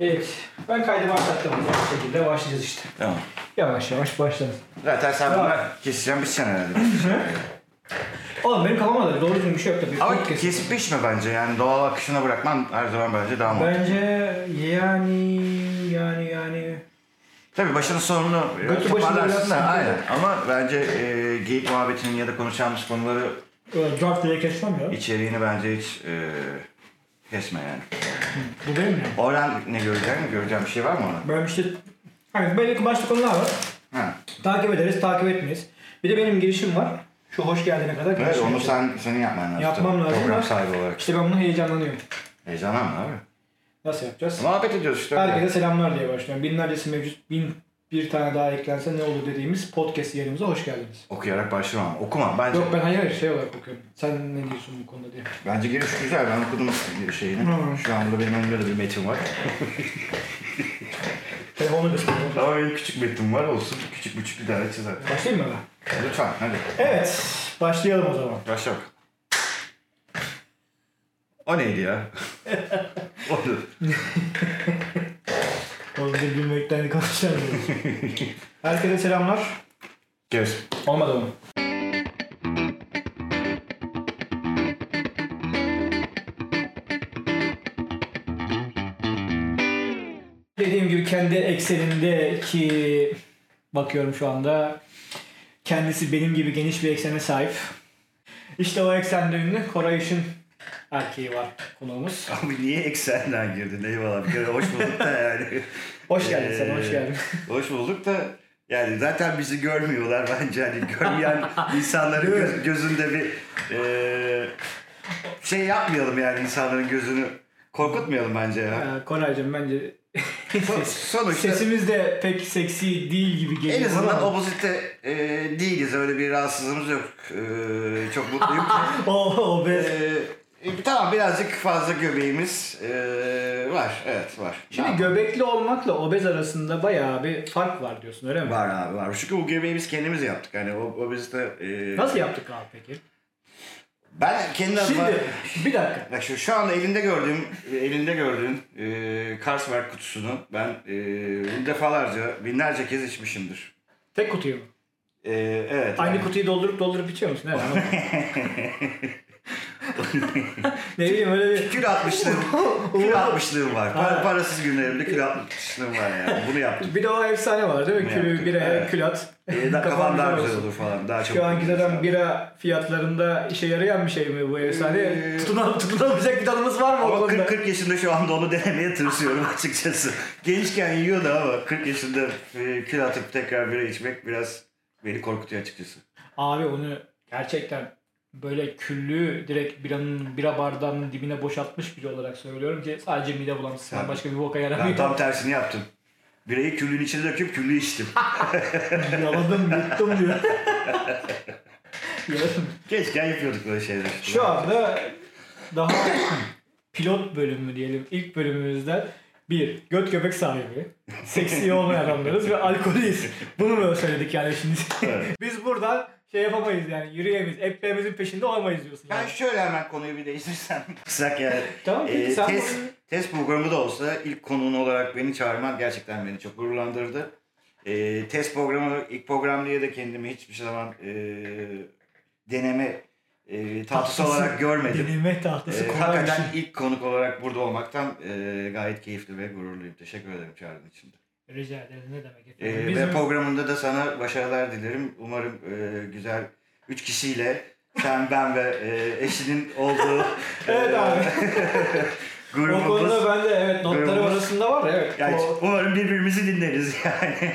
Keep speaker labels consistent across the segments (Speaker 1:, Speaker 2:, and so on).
Speaker 1: Evet. Ben kaydımı başlattım. Bu şekilde başlayacağız işte.
Speaker 2: Tamam.
Speaker 1: Yavaş yavaş başlarız.
Speaker 2: Zaten sen bunu keseceğim bir sen herhalde.
Speaker 1: Oğlum benim kafama da doğru düzgün bir şey yok da. Bir
Speaker 2: Ama
Speaker 1: kod kesin.
Speaker 2: kesip biçme bence yani doğal akışına bırakman her zaman bence daha mantıklı.
Speaker 1: Bence yani yani yani
Speaker 2: Tabii başının sonunu
Speaker 1: Götü başında biraz
Speaker 2: toparlarsın da
Speaker 1: sıkıntı
Speaker 2: aynen. Ama bence e, geyik muhabbetinin ya da konuşacağımız konuları
Speaker 1: Böyle dört diye kesmem ya.
Speaker 2: içeriğini bence hiç e, kesme yani.
Speaker 1: Bu benim ya.
Speaker 2: Oradan ne göreceğim? Göreceğim bir şey var mı ona?
Speaker 1: Ben işte hani belli başlı konular var.
Speaker 2: Ha.
Speaker 1: Takip ederiz, takip etmeyiz. Bir de benim girişim var. Şu hoş geldine kadar
Speaker 2: Evet
Speaker 1: girişim
Speaker 2: onu
Speaker 1: yapacağım.
Speaker 2: sen senin yapman lazım.
Speaker 1: Yapmam lazım
Speaker 2: Program
Speaker 1: da-
Speaker 2: sahibi olarak.
Speaker 1: İşte ben bunu heyecanlanıyorum.
Speaker 2: Heyecanlan mı abi?
Speaker 1: Nasıl yapacağız?
Speaker 2: Muhabbet ediyoruz işte.
Speaker 1: Herkese selamlar diye başlıyorum. Binlercesi mevcut, bin bir tane daha eklense ne olur dediğimiz podcast yayınımıza hoş geldiniz.
Speaker 2: Okuyarak başlamam. Okumam bence.
Speaker 1: Yok ben hayır hayır şey olarak bakıyorum. Sen ne diyorsun bu konuda diye.
Speaker 2: Bence giriş güzel. Ben okudum şeyini.
Speaker 1: Hı.
Speaker 2: Şu an burada benim önümde de bir metin var.
Speaker 1: Telefonu gösteriyorum.
Speaker 2: Ama benim küçük metin var olsun. Küçük küçük bir tane çizer.
Speaker 1: Başlayayım mı ben?
Speaker 2: Lütfen hadi.
Speaker 1: Evet, başlayalım o zaman.
Speaker 2: Başla bak. O neydi ya? o da-
Speaker 1: Oğlum bir gülmekten kalkışlar Herkese selamlar.
Speaker 2: Kes.
Speaker 1: Olmadı mı? Dediğim gibi kendi eksenindeki bakıyorum şu anda. Kendisi benim gibi geniş bir eksene sahip. İşte o eksende ünlü Koray Işın erkeği var konuğumuz.
Speaker 2: Abi niye eksenden girdin? Eyvallah bir kere hoş bulduk da yani.
Speaker 1: Hoş geldin sen, hoş
Speaker 2: Ee,
Speaker 1: geldin.
Speaker 2: Hoş bulduk da yani zaten bizi görmüyorlar bence. Hani görmeyen insanların göz- gözünde bir eee, şey yapmayalım yani insanların gözünü korkutmayalım bence ya.
Speaker 1: Ee, Koraycığım bence
Speaker 2: So- Sonuçta
Speaker 1: Sesimiz de pek seksi değil gibi geliyor.
Speaker 2: En azından
Speaker 1: bana.
Speaker 2: opozite e, değiliz. Öyle bir rahatsızlığımız yok. E, çok mutluyum.
Speaker 1: o, o
Speaker 2: e,
Speaker 1: be.
Speaker 2: e, tamam birazcık fazla göbeğimiz e, var. Evet var.
Speaker 1: Şimdi
Speaker 2: Tamam.
Speaker 1: göbekli olmakla obez arasında bayağı bir fark var diyorsun öyle mi?
Speaker 2: var abi var. Çünkü bu göbeği biz kendimiz yaptık. Yani o, obezite... e,
Speaker 1: Nasıl yaptık abi peki?
Speaker 2: Ben kendi adıma...
Speaker 1: Şimdi bir dakika.
Speaker 2: Bak şu, şu anda elinde gördüğüm, elinde gördüğün e, Carlsberg kutusunu ben e, bunu defalarca, binlerce kez içmişimdir.
Speaker 1: Tek kutuyu mu?
Speaker 2: E, evet.
Speaker 1: Aynı kutuyu doldurup doldurup içiyor musun? Evet, anladım. ne bileyim öyle bir...
Speaker 2: Kül atmışlığım, kül atmışlığım var. Par- parasız günlerimde kül atmışlığım var yani. Bunu yaptım.
Speaker 1: Bir de o efsane var değil mi?
Speaker 2: Ne
Speaker 1: Külü,
Speaker 2: yaptık?
Speaker 1: bira,
Speaker 2: Evet.
Speaker 1: külat.
Speaker 2: Ee, da, kafam daha güzel olur falan. Daha çok
Speaker 1: Şu anki zaten
Speaker 2: zaten
Speaker 1: bira fiyatlarında işe yarayan bir şey mi bu efsane?
Speaker 2: Ee,
Speaker 1: Tutunan, tutunamayacak bir tadımız var mı o
Speaker 2: Ama
Speaker 1: konuda?
Speaker 2: 40, 40 yaşında şu anda onu denemeye tırsıyorum açıkçası. Gençken yiyordu ama 40 yaşında e, kül atıp tekrar bira içmek biraz beni korkutuyor açıkçası.
Speaker 1: Abi onu gerçekten böyle küllü direkt biranın bira bardağının dibine boşaltmış biri olarak söylüyorum ki sadece mide bulantısı
Speaker 2: Ben-
Speaker 1: başka bir boka
Speaker 2: Ben
Speaker 1: yaramıyor.
Speaker 2: tam tersini yaptım. Birayı küllün içine döküp küllü içtim.
Speaker 1: Yaladım yuttum diyor. Yaladım.
Speaker 2: Gençken yapıyorduk böyle şeyler.
Speaker 1: Şu anda daha pilot bölümü diyelim ilk bölümümüzden bir göt göbek sahibi, seksi olmayan adamlarız ve alkolüyüz. Bunu mu söyledik yani şimdi?
Speaker 2: Evet.
Speaker 1: Biz buradan şey yapamayız yani yürüyemeyiz, ekmeğimizin peşinde olmayız diyorsun.
Speaker 2: Ben
Speaker 1: Yani.
Speaker 2: şöyle hemen konuyu bir değiştirsem. Kısak yani.
Speaker 1: Tamam, peki
Speaker 2: Ee,
Speaker 1: sen
Speaker 2: test,
Speaker 1: bunu-
Speaker 2: test programı da olsa ilk konuğun olarak beni çağırman gerçekten beni çok gururlandırdı. Ee, test programı, ilk program diye de kendimi hiçbir zaman e, deneme e, tatlısı olarak görmedim.
Speaker 1: Deneme tahtası
Speaker 2: Ee,
Speaker 1: kolay bir şey.
Speaker 2: hakikaten ilk konuk olarak burada olmaktan e, gayet keyifli ve gururluyum. Teşekkür ederim çağırdığın için de.
Speaker 1: şey. Rica ederiz ne demek
Speaker 2: Ee,
Speaker 1: efendim.
Speaker 2: ve
Speaker 1: Bizim
Speaker 2: programında da sana başarılar dilerim. Umarım e, güzel üç kişiyle sen, ben ve e, eşinin olduğu e,
Speaker 1: Evet abi.
Speaker 2: Ee,
Speaker 1: o
Speaker 2: grubumuz.
Speaker 1: konuda ben de evet notlarım
Speaker 2: Grubumuz.
Speaker 1: arasında var evet.
Speaker 2: Yani
Speaker 1: O,
Speaker 2: umarım birbirimizi dinleriz yani.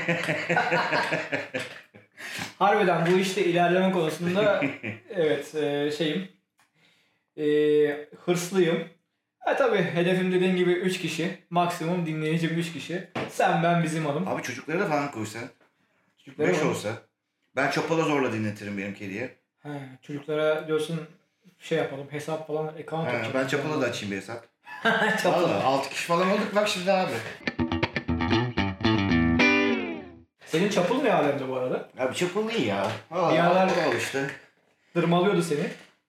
Speaker 1: harbiden bu işte ilerleme konusunda evet e, şeyim e, hırslıyım. E tabi hedefim dediğin gibi 3 kişi. Maksimum dinleyicim 3 kişi. Sen ben bizim hanım.
Speaker 2: Abi çocukları da falan koysa.
Speaker 1: Çocuklara
Speaker 2: Beş
Speaker 1: hanım.
Speaker 2: olsa. Ben çopala zorla dinletirim benim kediye.
Speaker 1: He, çocuklara diyorsun şey yapalım hesap falan
Speaker 2: Ha,
Speaker 1: account açalım.
Speaker 2: ben çopala da açayım bir hesap.
Speaker 1: Çapala.
Speaker 2: Valla 6 kişi falan olduk bak şimdi abi.
Speaker 1: Senin çapul ne alemde bu arada?
Speaker 2: Abi çopal iyi ya. Aa,
Speaker 1: Bir yerler-
Speaker 2: al işte.
Speaker 1: Dırmalıyordu seni.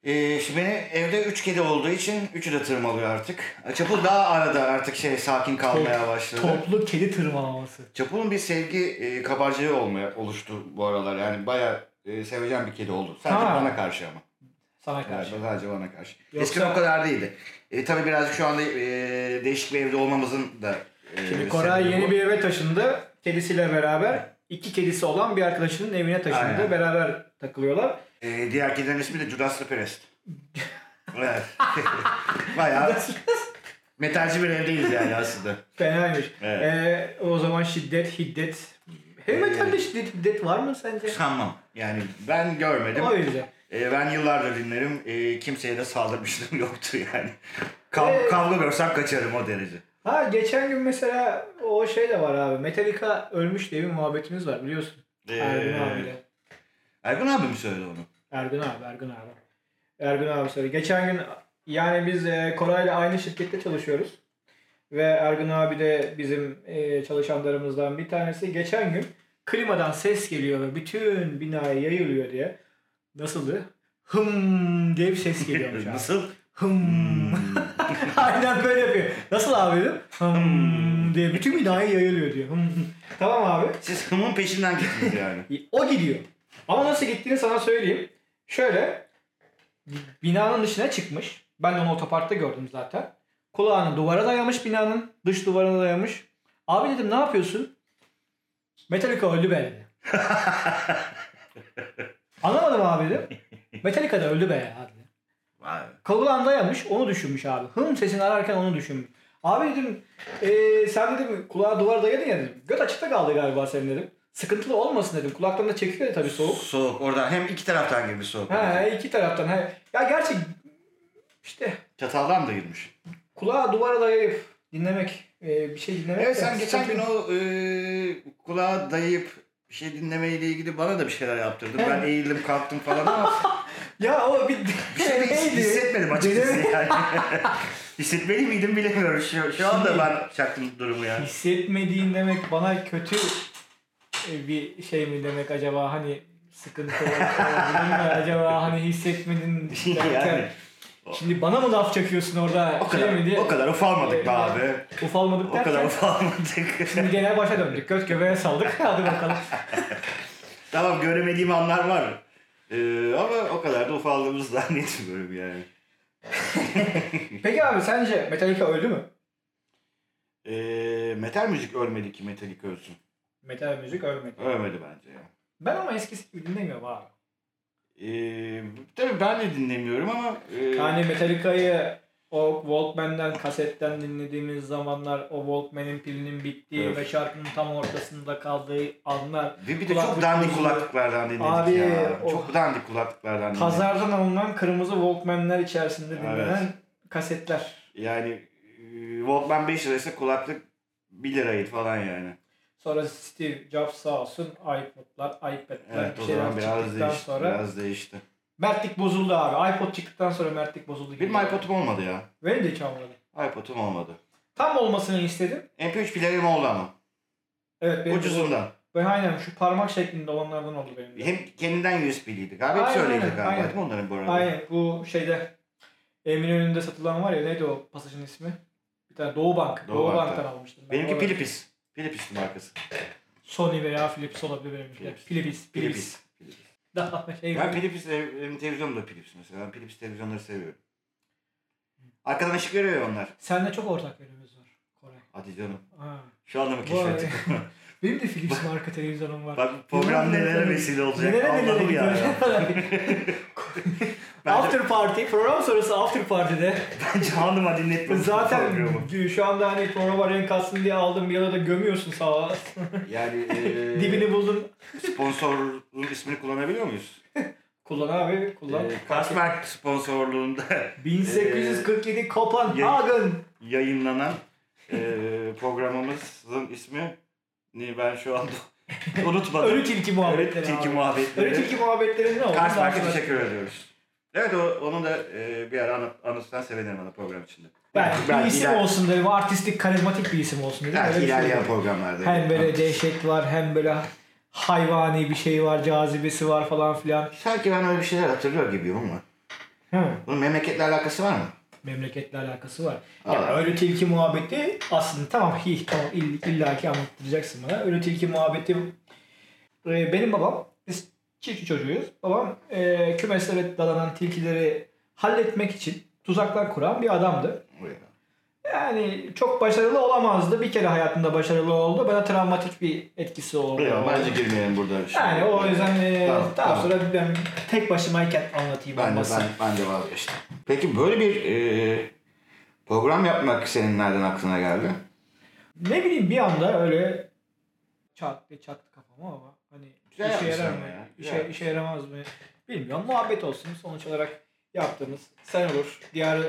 Speaker 2: Ee, şimdi benim evde üç kedi olduğu için üçü de tırmalıyor artık. Çapul daha arada artık şey sakin kalmaya başladı.
Speaker 1: Toplu kedi tırmalaması.
Speaker 2: Çapul'un bir sevgi e, kabarcığı olmaya oluştu bu aralar. Yani baya e, seveceğim bir kedi oldu. Sadece
Speaker 1: Ha.
Speaker 2: bana karşı ama.
Speaker 1: Sana
Speaker 2: Yani
Speaker 1: karşı.
Speaker 2: sadece bana karşı.
Speaker 1: Yoksa-
Speaker 2: Eskiden o kadar değildi. E, tabii birazcık şu anda e, değişik bir evde olmamızın da e,
Speaker 1: Şimdi Koray
Speaker 2: sebebi bu.
Speaker 1: yeni bir eve taşındı. Kedisiyle beraber iki kedisi olan bir arkadaşının evine taşındı.
Speaker 2: Aynen.
Speaker 1: Beraber takılıyorlar.
Speaker 2: E, diğer kedinin ismi de Judas the Priest. evet. Bayağı metalci bir evdeyiz yani aslında.
Speaker 1: Fenaymış.
Speaker 2: Evet.
Speaker 1: Ee, o zaman şiddet, hiddet. Heavy
Speaker 2: Evet.
Speaker 1: metalde şiddet, hiddet var mı sence?
Speaker 2: Sanmam. Yani ben görmedim.
Speaker 1: O yüzden.
Speaker 2: E, ben yıllardır dinlerim. E, kimseye de saldırmışlığım yoktu yani. Kav-
Speaker 1: Ee,
Speaker 2: Kavga görsem kaçarım o derece.
Speaker 1: Ha geçen gün mesela o şey de var abi. Metallica ölmüş diye bir muhabbetimiz var biliyorsun.
Speaker 2: Ee,
Speaker 1: Ergün abiyle.
Speaker 2: Ergun abi mi söyledi onu?
Speaker 1: Ergün abi, Ergün abi. Ergün abi söyle. Geçen gün yani biz e, Koray'la aynı şirkette çalışıyoruz. Ve Ergün abi de bizim e, çalışanlarımızdan bir tanesi. Geçen gün klimadan ses geliyor ve bütün binaya yayılıyor diye. Nasıldı? Hım diye bir ses geliyormuş abi.
Speaker 2: Nasıl? Hmm.
Speaker 1: Hım. Aynen böyle yapıyor. Nasıl abi dedim. Hım diye bütün binaya yayılıyor diyor. Hım. Tamam abi.
Speaker 2: Siz hımın peşinden gittiniz yani.
Speaker 1: O gidiyor. Ama nasıl gittiğini sana söyleyeyim. Şöyle binanın dışına çıkmış. Ben de onu otoparkta gördüm zaten. Kulağını duvara dayamış binanın. Dış duvarına dayamış. Abi dedim ne yapıyorsun? Metallica öldü be dedi. Anlamadım abi dedim. Metallica da öldü be ya dedi.
Speaker 2: Vay be.
Speaker 1: Kavulan dayamış onu düşünmüş abi. Hım sesini ararken onu düşünmüş. Abi dedim eee, sen dedim kulağa duvar dayadın ya dedim. Göt açıkta kaldı galiba senin dedim. Sıkıntılı olmasın dedim. Kulaktan da çekiyor ya tabii soğuk.
Speaker 2: Soğuk. Oradan hem iki taraftan girmiş soğuk.
Speaker 1: He iki taraftan. He. Ya gerçi işte
Speaker 2: Çataldan da girmiş.
Speaker 1: kulağa duvara dayayıp dinlemek eee, bir şey dinlemek.
Speaker 2: Evet
Speaker 1: de
Speaker 2: sen geçen gün
Speaker 1: sıkıntı.
Speaker 2: o e, kulağa dayayıp bir şey dinlemeyle ilgili bana da bir şeyler yaptırdın. Ben
Speaker 1: Evet.
Speaker 2: eğildim kalktım falan ama
Speaker 1: Ya o bir,
Speaker 2: bir şey de hiç
Speaker 1: neydi?
Speaker 2: hissetmedim açıkçası
Speaker 1: Deneme-
Speaker 2: yani. Hissetmeli miydim bilemiyorum. Şu, şu anda ben çaktım durumu yani.
Speaker 1: Hissetmediğin demek bana kötü e, bir şey mi demek acaba hani sıkıntı olabilir mi acaba hani hissetmedin derken.
Speaker 2: Yani.
Speaker 1: Şimdi bana mı laf çakıyorsun orada
Speaker 2: O kadar,
Speaker 1: şey mi diye
Speaker 2: o kadar ufalmadık be abi.
Speaker 1: ufalmadık
Speaker 2: O
Speaker 1: derken
Speaker 2: kadar ufalmadık.
Speaker 1: şimdi genel başa döndük göt göbeğe saldık hadi bakalım.
Speaker 2: Tamam göremediğim anlar var. Ee, ama o kadar da ufaldığımızı zannetmiyorum yani.
Speaker 1: Peki abi sence Metallica öldü mü?
Speaker 2: Ee, metal müzik ölmedi ki metalik ölsün.
Speaker 1: Metal müzik ölmedi.
Speaker 2: Ölmedi bence ya.
Speaker 1: Ben ama eskisi gibi dinlemiyorum abi.
Speaker 2: Ee, tabii ben de dinlemiyorum ama e,
Speaker 1: Yani Metallica'yı o Walkman'den, kasetten dinlediğimiz zamanlar o Walkman'in pilinin bittiği
Speaker 2: Evet.
Speaker 1: ve şarkının tam ortasında kaldığı anlar.
Speaker 2: ve bir de
Speaker 1: kulaklık
Speaker 2: çok dandik
Speaker 1: müziği-
Speaker 2: kulaklıklardan dinledik
Speaker 1: Abi,
Speaker 2: ya.
Speaker 1: oh.
Speaker 2: Çok dandik kulaklıklardan dinledik.
Speaker 1: Pazardan alınan kırmızı Walkman'ler içerisinde dinlenen
Speaker 2: Evet.
Speaker 1: kasetler.
Speaker 2: Yani e, Walkman 5 liraysa kulaklık 1 liraydı falan yani.
Speaker 1: Sonra Steve Jobs sağ olsun iPod'lar, iPad'ler
Speaker 2: Evet
Speaker 1: bir
Speaker 2: o
Speaker 1: şeyler
Speaker 2: zaman biraz
Speaker 1: çıktıktan
Speaker 2: değişti.
Speaker 1: sonra
Speaker 2: Biraz değişti.
Speaker 1: Mertlik bozuldu abi. iPod çıktıktan sonra Mertlik bozuldu. gibi.
Speaker 2: Benim iPod'um olmadı ya.
Speaker 1: Benim de hiç olmadı.
Speaker 2: iPod'um olmadı.
Speaker 1: Tam olmasını istedim.
Speaker 2: MP3 player'im oldu ama.
Speaker 1: Evet benim de oldu.
Speaker 2: Ucuzundan.
Speaker 1: Ben aynen şu parmak şeklinde olanlardan oldu benim de.
Speaker 2: Hem kendinden USB'liydik abi.
Speaker 1: Aynen,
Speaker 2: Hepsi öyleydi
Speaker 1: aynen,
Speaker 2: galiba.
Speaker 1: aynen.
Speaker 2: Değil mi onların bu arada?
Speaker 1: Aynen bu şeyde Eminönü'nde satılan var ya neydi o pasajın ismi? Bir tane Doğu Bank.
Speaker 2: Doğu
Speaker 1: Doğu,
Speaker 2: Bank'tan.
Speaker 1: Bank'tan. almıştım. ben.
Speaker 2: Benimki
Speaker 1: Orada-
Speaker 2: Philips. Philips'ti markası.
Speaker 1: Sony veya Philips olabilir benimki.
Speaker 2: Philips.
Speaker 1: Philips. Philips.
Speaker 2: Philips.
Speaker 1: Daha şey.
Speaker 2: Ben Philips ev- benim televizyonum da Philips mesela. Ben Philips televizyonları seviyorum. Arkadan ışık veriyor ya onlar.
Speaker 1: Senle çok ortak yönümüz var Koray.
Speaker 2: Hadi canım.
Speaker 1: Ha.
Speaker 2: Şu anda mı
Speaker 1: Bu
Speaker 2: keşfettik?
Speaker 1: Benim de Philips marka televizyonum var.
Speaker 2: Bak program nelere vesile olacak.
Speaker 1: Nelere nelere
Speaker 2: Allah'ım ya.
Speaker 1: gidiyor.
Speaker 2: Bence-
Speaker 1: after party, program sonrası after party'de
Speaker 2: Bence hanıma dinletmedim.
Speaker 1: zaten şu anda hani programa renk katsın diye aldım bir yana da gömüyorsun sağa.
Speaker 2: Yani e,
Speaker 1: Dibini buldun.
Speaker 2: sponsorluğun ismini kullanabiliyor muyuz?
Speaker 1: Kullan abi kullan.
Speaker 2: E, Karsmark sponsorluğunda Ee,
Speaker 1: 1847 Kopenhagen.
Speaker 2: yayınlanan e, programımızın ismi ne ben şu anda unutmadım.
Speaker 1: Ölü tilki muhabbetleri.
Speaker 2: Ölü tilki
Speaker 1: abi.
Speaker 2: muhabbetleri.
Speaker 1: Ölü tilki muhabbetleri ne oldu?
Speaker 2: Kars Mark'a
Speaker 1: Ben-
Speaker 2: teşekkür ediyoruz. Evet o, onu da e, bir ara anı- anırsan sevinirim ana program içinde.
Speaker 1: Ben, bir isim
Speaker 2: iler-
Speaker 1: olsun dedim. Artistik, karizmatik bir isim olsun dedim.
Speaker 2: belki
Speaker 1: Öyle bir şey
Speaker 2: ilerleyen
Speaker 1: dedim.
Speaker 2: programlarda.
Speaker 1: Hem böyle dehşet var hem böyle hayvani bir şey var, cazibesi var falan filan.
Speaker 2: Sanki ben öyle bir şeyler hatırlıyor gibiyim ama.
Speaker 1: Hı.
Speaker 2: Bunun memleketle alakası var mı?
Speaker 1: Memleketle alakası var. Yani
Speaker 2: Aa.
Speaker 1: öyle tilki muhabbeti aslında tamam hi tamam ill- illaki anlattıracaksın bana. Öyle tilki muhabbeti Ee, benim babam biz çiftçi çocuğuyuz. Babam e, kümeslere dalanan tilkileri halletmek için tuzaklar kuran bir adamdı. Yani çok başarılı olamazdı. Bir kere hayatında başarılı oldu. Bana travmatik bir etkisi oldu.
Speaker 2: Buraya bence girmeyelim burada. Şimdi.
Speaker 1: Yani o yüzden e,
Speaker 2: Tamam,
Speaker 1: daha
Speaker 2: tamam.
Speaker 1: sonra ben tek başımayken anlatayım.
Speaker 2: Ben de,
Speaker 1: olmazsa.
Speaker 2: ben, ben de vazgeçtim. Peki böyle bir e, program yapmak senin nereden aklına geldi?
Speaker 1: Ne bileyim bir anda öyle çarptı çaktı kafama ama hani
Speaker 2: Güzel
Speaker 1: işe
Speaker 2: yapmışsın
Speaker 1: yarar
Speaker 2: ama
Speaker 1: mı?
Speaker 2: ya, güzel
Speaker 1: İşe, işe yaramaz mı? Bilmiyorum. Muhabbet olsun. Sonuç olarak yaptığımız sen olur. Diğer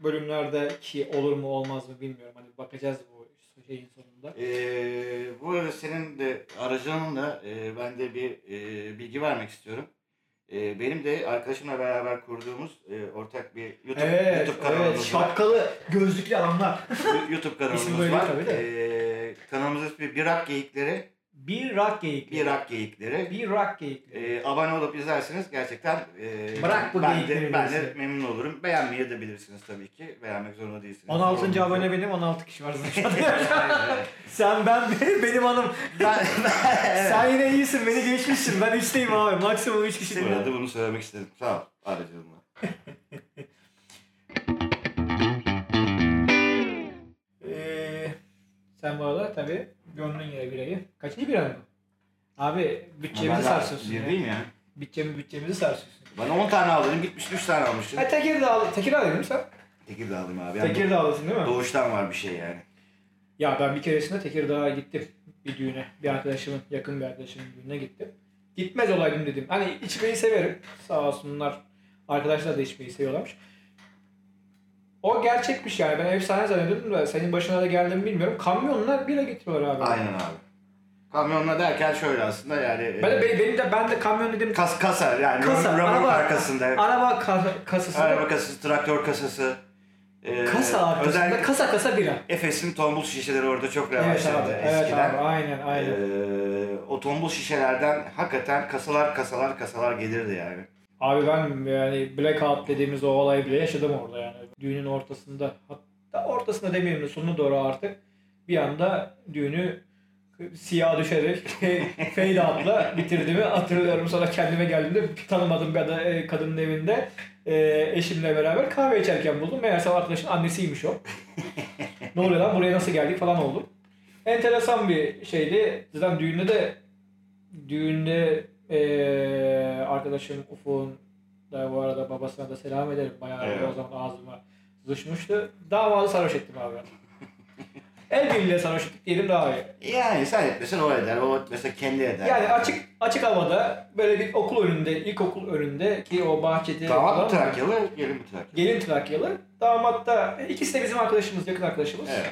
Speaker 1: bölümlerdeki olur mu olmaz mı bilmiyorum. Hani bakacağız bu şeyin sonunda.
Speaker 2: Ee, bu arada senin de aracının da e, ben de bir e, bilgi vermek istiyorum. E, benim de arkadaşımla beraber kurduğumuz e, ortak bir YouTube,
Speaker 1: Evet,
Speaker 2: YouTube
Speaker 1: evet.
Speaker 2: kanalımız var.
Speaker 1: Şapkalı gözlüklü adamlar.
Speaker 2: YouTube
Speaker 1: İsmi
Speaker 2: kanalımız
Speaker 1: böyle
Speaker 2: var.
Speaker 1: tabii de.
Speaker 2: E, kanalımızın ismi Bir Rak Geyikleri.
Speaker 1: Bir rak geyikleri.
Speaker 2: Bir Rak Geyikleri.
Speaker 1: Bir rak geyikleri.
Speaker 2: E, abone olup izlerseniz gerçekten e,
Speaker 1: Bırak bu
Speaker 2: ben, de,
Speaker 1: geyikleri
Speaker 2: ben de
Speaker 1: gerisi.
Speaker 2: memnun olurum. Beğenmeyi de bilirsiniz tabii ki. Beğenmek zorunda değilsiniz.
Speaker 1: 16.
Speaker 2: Yorum-
Speaker 1: abone benim 16 kişi var zaten.
Speaker 2: Aynen.
Speaker 1: Sen ben benim hanım.
Speaker 2: Ben- ben-
Speaker 1: Sen yine iyisin beni geçmişsin. Ben 3'teyim abi. Maksimum 3
Speaker 2: Bu
Speaker 1: kişi.
Speaker 2: arada bunu söylemek istedim. Sağ ol. Aracılığına.
Speaker 1: Ee, sen bu arada tabii gönlün yere birayı. Kaçıncı bira mı? Abi bütçemizi sarsıyorsun.
Speaker 2: Bir
Speaker 1: ya.
Speaker 2: değil mi ya?
Speaker 1: Bütçemi, bütçemizi sarsıyorsun.
Speaker 2: Ben 10 tane aldım. Gitmiş 3 tane almıştım.
Speaker 1: Ha Tekirdağlı, Tekirdağ dedin mi sen?
Speaker 2: Tekirdağ aldım abi. Yani
Speaker 1: Tekirdağlısın değil mi?
Speaker 2: Doğuştan var bir şey yani.
Speaker 1: Ya ben bir keresinde Tekirdağ'a gittim bir düğüne. Bir arkadaşımın, yakın bir arkadaşımın düğününe gittim. Gitmez olaydım dedim. Hani içmeyi severim. Sağ olsunlar. Arkadaşlar da içmeyi seviyorlarmış. O gerçekmiş yani. Ben efsane zannediyordum da senin başına da geldi mi bilmiyorum. Kamyonla bira getiriyorlar abi.
Speaker 2: Aynen abi. Kamyonla derken şöyle aslında yani.
Speaker 1: Ben de,
Speaker 2: e,
Speaker 1: benim, benim de ben de kamyon dedim.
Speaker 2: kas kasa yani
Speaker 1: Kasa,
Speaker 2: römork
Speaker 1: araba-
Speaker 2: arkasında.
Speaker 1: Araba ka- kasası.
Speaker 2: Araba kasası, traktör kasası. E,
Speaker 1: kasa arkasında.
Speaker 2: özellikle
Speaker 1: Kasa kasa bira.
Speaker 2: Efes'in tombul şişeleri orada çok
Speaker 1: Evet
Speaker 2: revaçlandı
Speaker 1: abi. Evet
Speaker 2: eskiden.
Speaker 1: abi. Aynen aynen.
Speaker 2: E, o tombul şişelerden hakikaten kasalar kasalar kasalar gelirdi yani.
Speaker 1: Abi ben yani blackout dediğimiz o olayı bile yaşadım orada yani. Düğünün ortasında hatta ortasında demeyelim de sonuna doğru artık bir anda düğünü siyah düşerek fade out'la bitirdiğimi hatırlıyorum. Sonra kendime geldiğimde tanımadığım bir ada- e, kadının evinde e, eşimle beraber kahve içerken buldum. Meğerse o arkadaşın annesiymiş o. ne oluyor lan buraya nasıl geldik falan oldum. Enteresan bir şeydi. Zaten düğünde de düğünde eee arkadaşım Ufuk'un da bu arada babasına da selam ederim. Bayağı
Speaker 2: Evet.
Speaker 1: o zaman ağzıma düşmüştü. Davalı sarhoş ettim abi. El birliğiyle sarhoş ettik diyelim daha iyi.
Speaker 2: Yani sen etmesen o eder, o etmese kendi eder.
Speaker 1: Yani açık açık havada böyle bir okul önünde, ilkokul önünde ki o bahçede
Speaker 2: Damat mı
Speaker 1: yapılan-
Speaker 2: Trakyalı, gelin mi Trakyalı?
Speaker 1: Gelin Trakyalı. Damat da e, ikisi de bizim arkadaşımız, yakın arkadaşımız.
Speaker 2: Evet.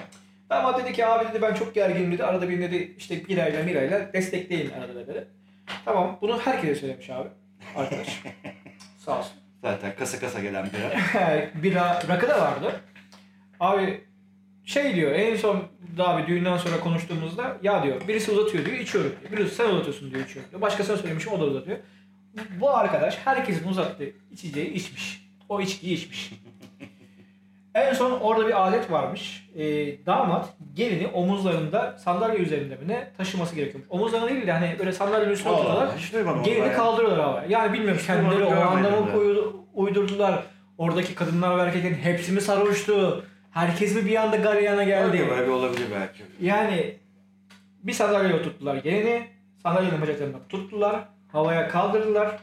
Speaker 1: Damat dedi ki abi dedi ben çok gerginim dedi. Arada beni dedi işte birayla mirayla destekleyin arada dedi. Tamam bunu herkese söylemiş abi. Arkadaş. Sağ olsun.
Speaker 2: Zaten kasa kasa gelen bira.
Speaker 1: Bira, rakı da vardı. Abi şey diyor en son daha bir düğünden sonra konuştuğumuzda ya diyor birisi uzatıyor diyor içiyorum diyor. Birisi sen uzatıyorsun diyor içiyorum diyor. Başkasına söylemişim o da uzatıyor. Bu arkadaş herkesin uzattığı içeceği içmiş. O içkiyi içmiş. en son orada bir adet varmış. Ee, damat gelini omuzlarında sandalye üzerinde mi ne taşıması gerekiyormuş. Omuzlarına değil de hani böyle sandalyenin üstüne oturuyorlar.
Speaker 2: hiç duymadım.
Speaker 1: Gelini
Speaker 2: ben.
Speaker 1: kaldırıyorlar havaya. Yani bilmiyorum
Speaker 2: Hiç
Speaker 1: kendileri o
Speaker 2: duymadım,
Speaker 1: anda mı
Speaker 2: görmedim de.
Speaker 1: koyu- uydurdular. Oradaki kadınlar ve erkeklerin hepsi mi sarhoştu? Herkes mi bir anda garyana geldi?
Speaker 2: Belki Böyle bir olabilir belki.
Speaker 1: Yani bir sandalyeye oturttular gelini. Sandalyenin bacaklarından tuttular. Havaya kaldırdılar.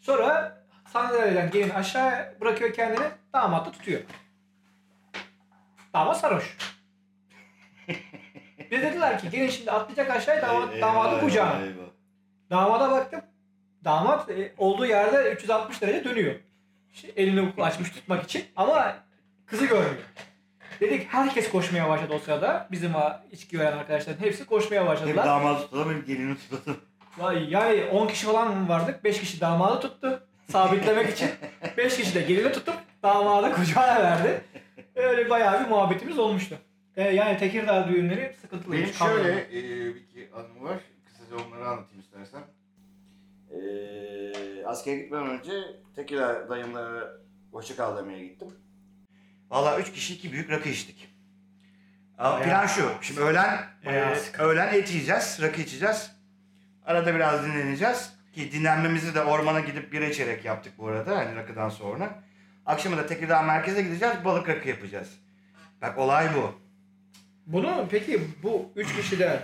Speaker 1: Sonra sandalyeden gelini aşağı bırakıyor kendini. Damat da tutuyor. Damat sarhoş. Biz dediler ki gelin şimdi atlayacak aşağıya damat,
Speaker 2: Ey-
Speaker 1: damadı
Speaker 2: eyvah,
Speaker 1: kucağına.
Speaker 2: eyvah.
Speaker 1: Damada baktım. Damat e, olduğu yerde 360 derece dönüyor. Şey, Elini açmış tutmak için ama kızı görmüyor. Dedik herkes koşmaya başladı o sırada. Bizim ha- içki veren arkadaşların hepsi koşmaya
Speaker 2: Hem
Speaker 1: başladılar.
Speaker 2: damat tutalım hem gelini tutalım.
Speaker 1: Vay, Yani 10 kişi falan vardık. 5 kişi damadı tuttu. Sabitlemek için. 5 kişi de gelini tutup damada kucağına verdi. Öyle bayağı bir muhabbetimiz olmuştu. E, yani Tekirdağ düğünleri sıkıntılıymış.
Speaker 2: Benim şöyle e, bir iki anım var. Kısaca onları anlatayım Ee, istersen. E, askere gitmeden önce Tekirdağ dayımlara Hoşça kal demeye gittim. Valla üç kişi iki büyük rakı içtik. Ama
Speaker 1: Bayağı-
Speaker 2: plan şu. Şimdi öğlen
Speaker 1: Bayağı
Speaker 2: e,
Speaker 1: sıkı.
Speaker 2: öğlen et yiyeceğiz, rakı içeceğiz. Arada biraz dinleneceğiz. Ki dinlenmemizi de ormana gidip bira içerek yaptık bu arada. Hani rakıdan sonra. Akşama da Tekirdağ merkeze gideceğiz. Balık rakı yapacağız. Bak olay bu.
Speaker 1: Bunu peki bu 3 kişiden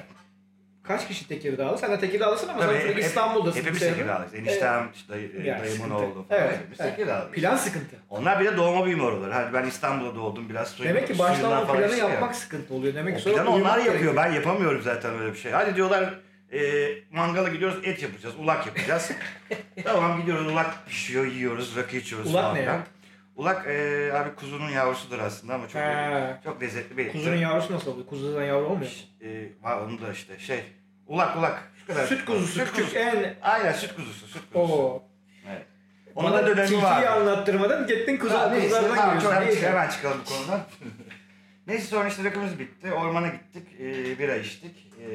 Speaker 1: kaç kişi Tekirdağlı? Sen de Tekirdağlısın ama sen
Speaker 2: hep-
Speaker 1: sürekli
Speaker 2: hep-
Speaker 1: İstanbul'dasın. şey
Speaker 2: Hepimiz
Speaker 1: bu sene.
Speaker 2: Tekirdağlıyız. Eniştem, işte dayı,
Speaker 1: Yani
Speaker 2: dayımın
Speaker 1: sıkıntı.
Speaker 2: oğlu falan.
Speaker 1: Evet,
Speaker 2: Hepimiz
Speaker 1: evet.
Speaker 2: Tekirdağlıyız.
Speaker 1: Plan sıkıntı.
Speaker 2: Onlar bir de doğma büyüme oraları. Hani ben İstanbul'da doğdum biraz suyun,
Speaker 1: Demek ki baştan
Speaker 2: suyundan
Speaker 1: o
Speaker 2: falan şey
Speaker 1: planı
Speaker 2: içtim ya.
Speaker 1: yapmak sıkıntı oluyor. Demek ki
Speaker 2: O
Speaker 1: sonra
Speaker 2: planı onlar
Speaker 1: uyumak
Speaker 2: yapıyor.
Speaker 1: gerekiyor.
Speaker 2: Ben yapamıyorum zaten öyle bir şey. Hadi diyorlar e, mangala gidiyoruz et yapacağız. Ulak yapacağız. tamam gidiyoruz ulak pişiyor yiyoruz rakı içiyoruz
Speaker 1: Ulak
Speaker 2: falan.
Speaker 1: ne ya?
Speaker 2: Ulak e, abi kuzunun yavrusudur aslında ama çok
Speaker 1: He.
Speaker 2: çok lezzetli bir şey.
Speaker 1: Kuzunun yavrusu nasıl oluyor? Kuzudan yavru olmuyor. mu?
Speaker 2: E, var onu da işte şey ulak ulak şu kadar.
Speaker 1: Süt kuzusu.
Speaker 2: Süt
Speaker 1: Küçük
Speaker 2: kuzusu.
Speaker 1: en...
Speaker 2: Aynen süt kuzusu süt kuzusu.
Speaker 1: Oo.
Speaker 2: Evet. Ona
Speaker 1: Bana
Speaker 2: da dönemi
Speaker 1: tilkiyi
Speaker 2: var.
Speaker 1: anlattırmadan gittin kuzu,
Speaker 2: Ha, neyse,
Speaker 1: kuzulardan
Speaker 2: tamam, şey-
Speaker 1: giriyorsun.
Speaker 2: çok-
Speaker 1: Neyse.
Speaker 2: Hemen çıkalım bu konudan. neyse sonra işte rakımız bitti. Ormana gittik. E, bira içtik. E,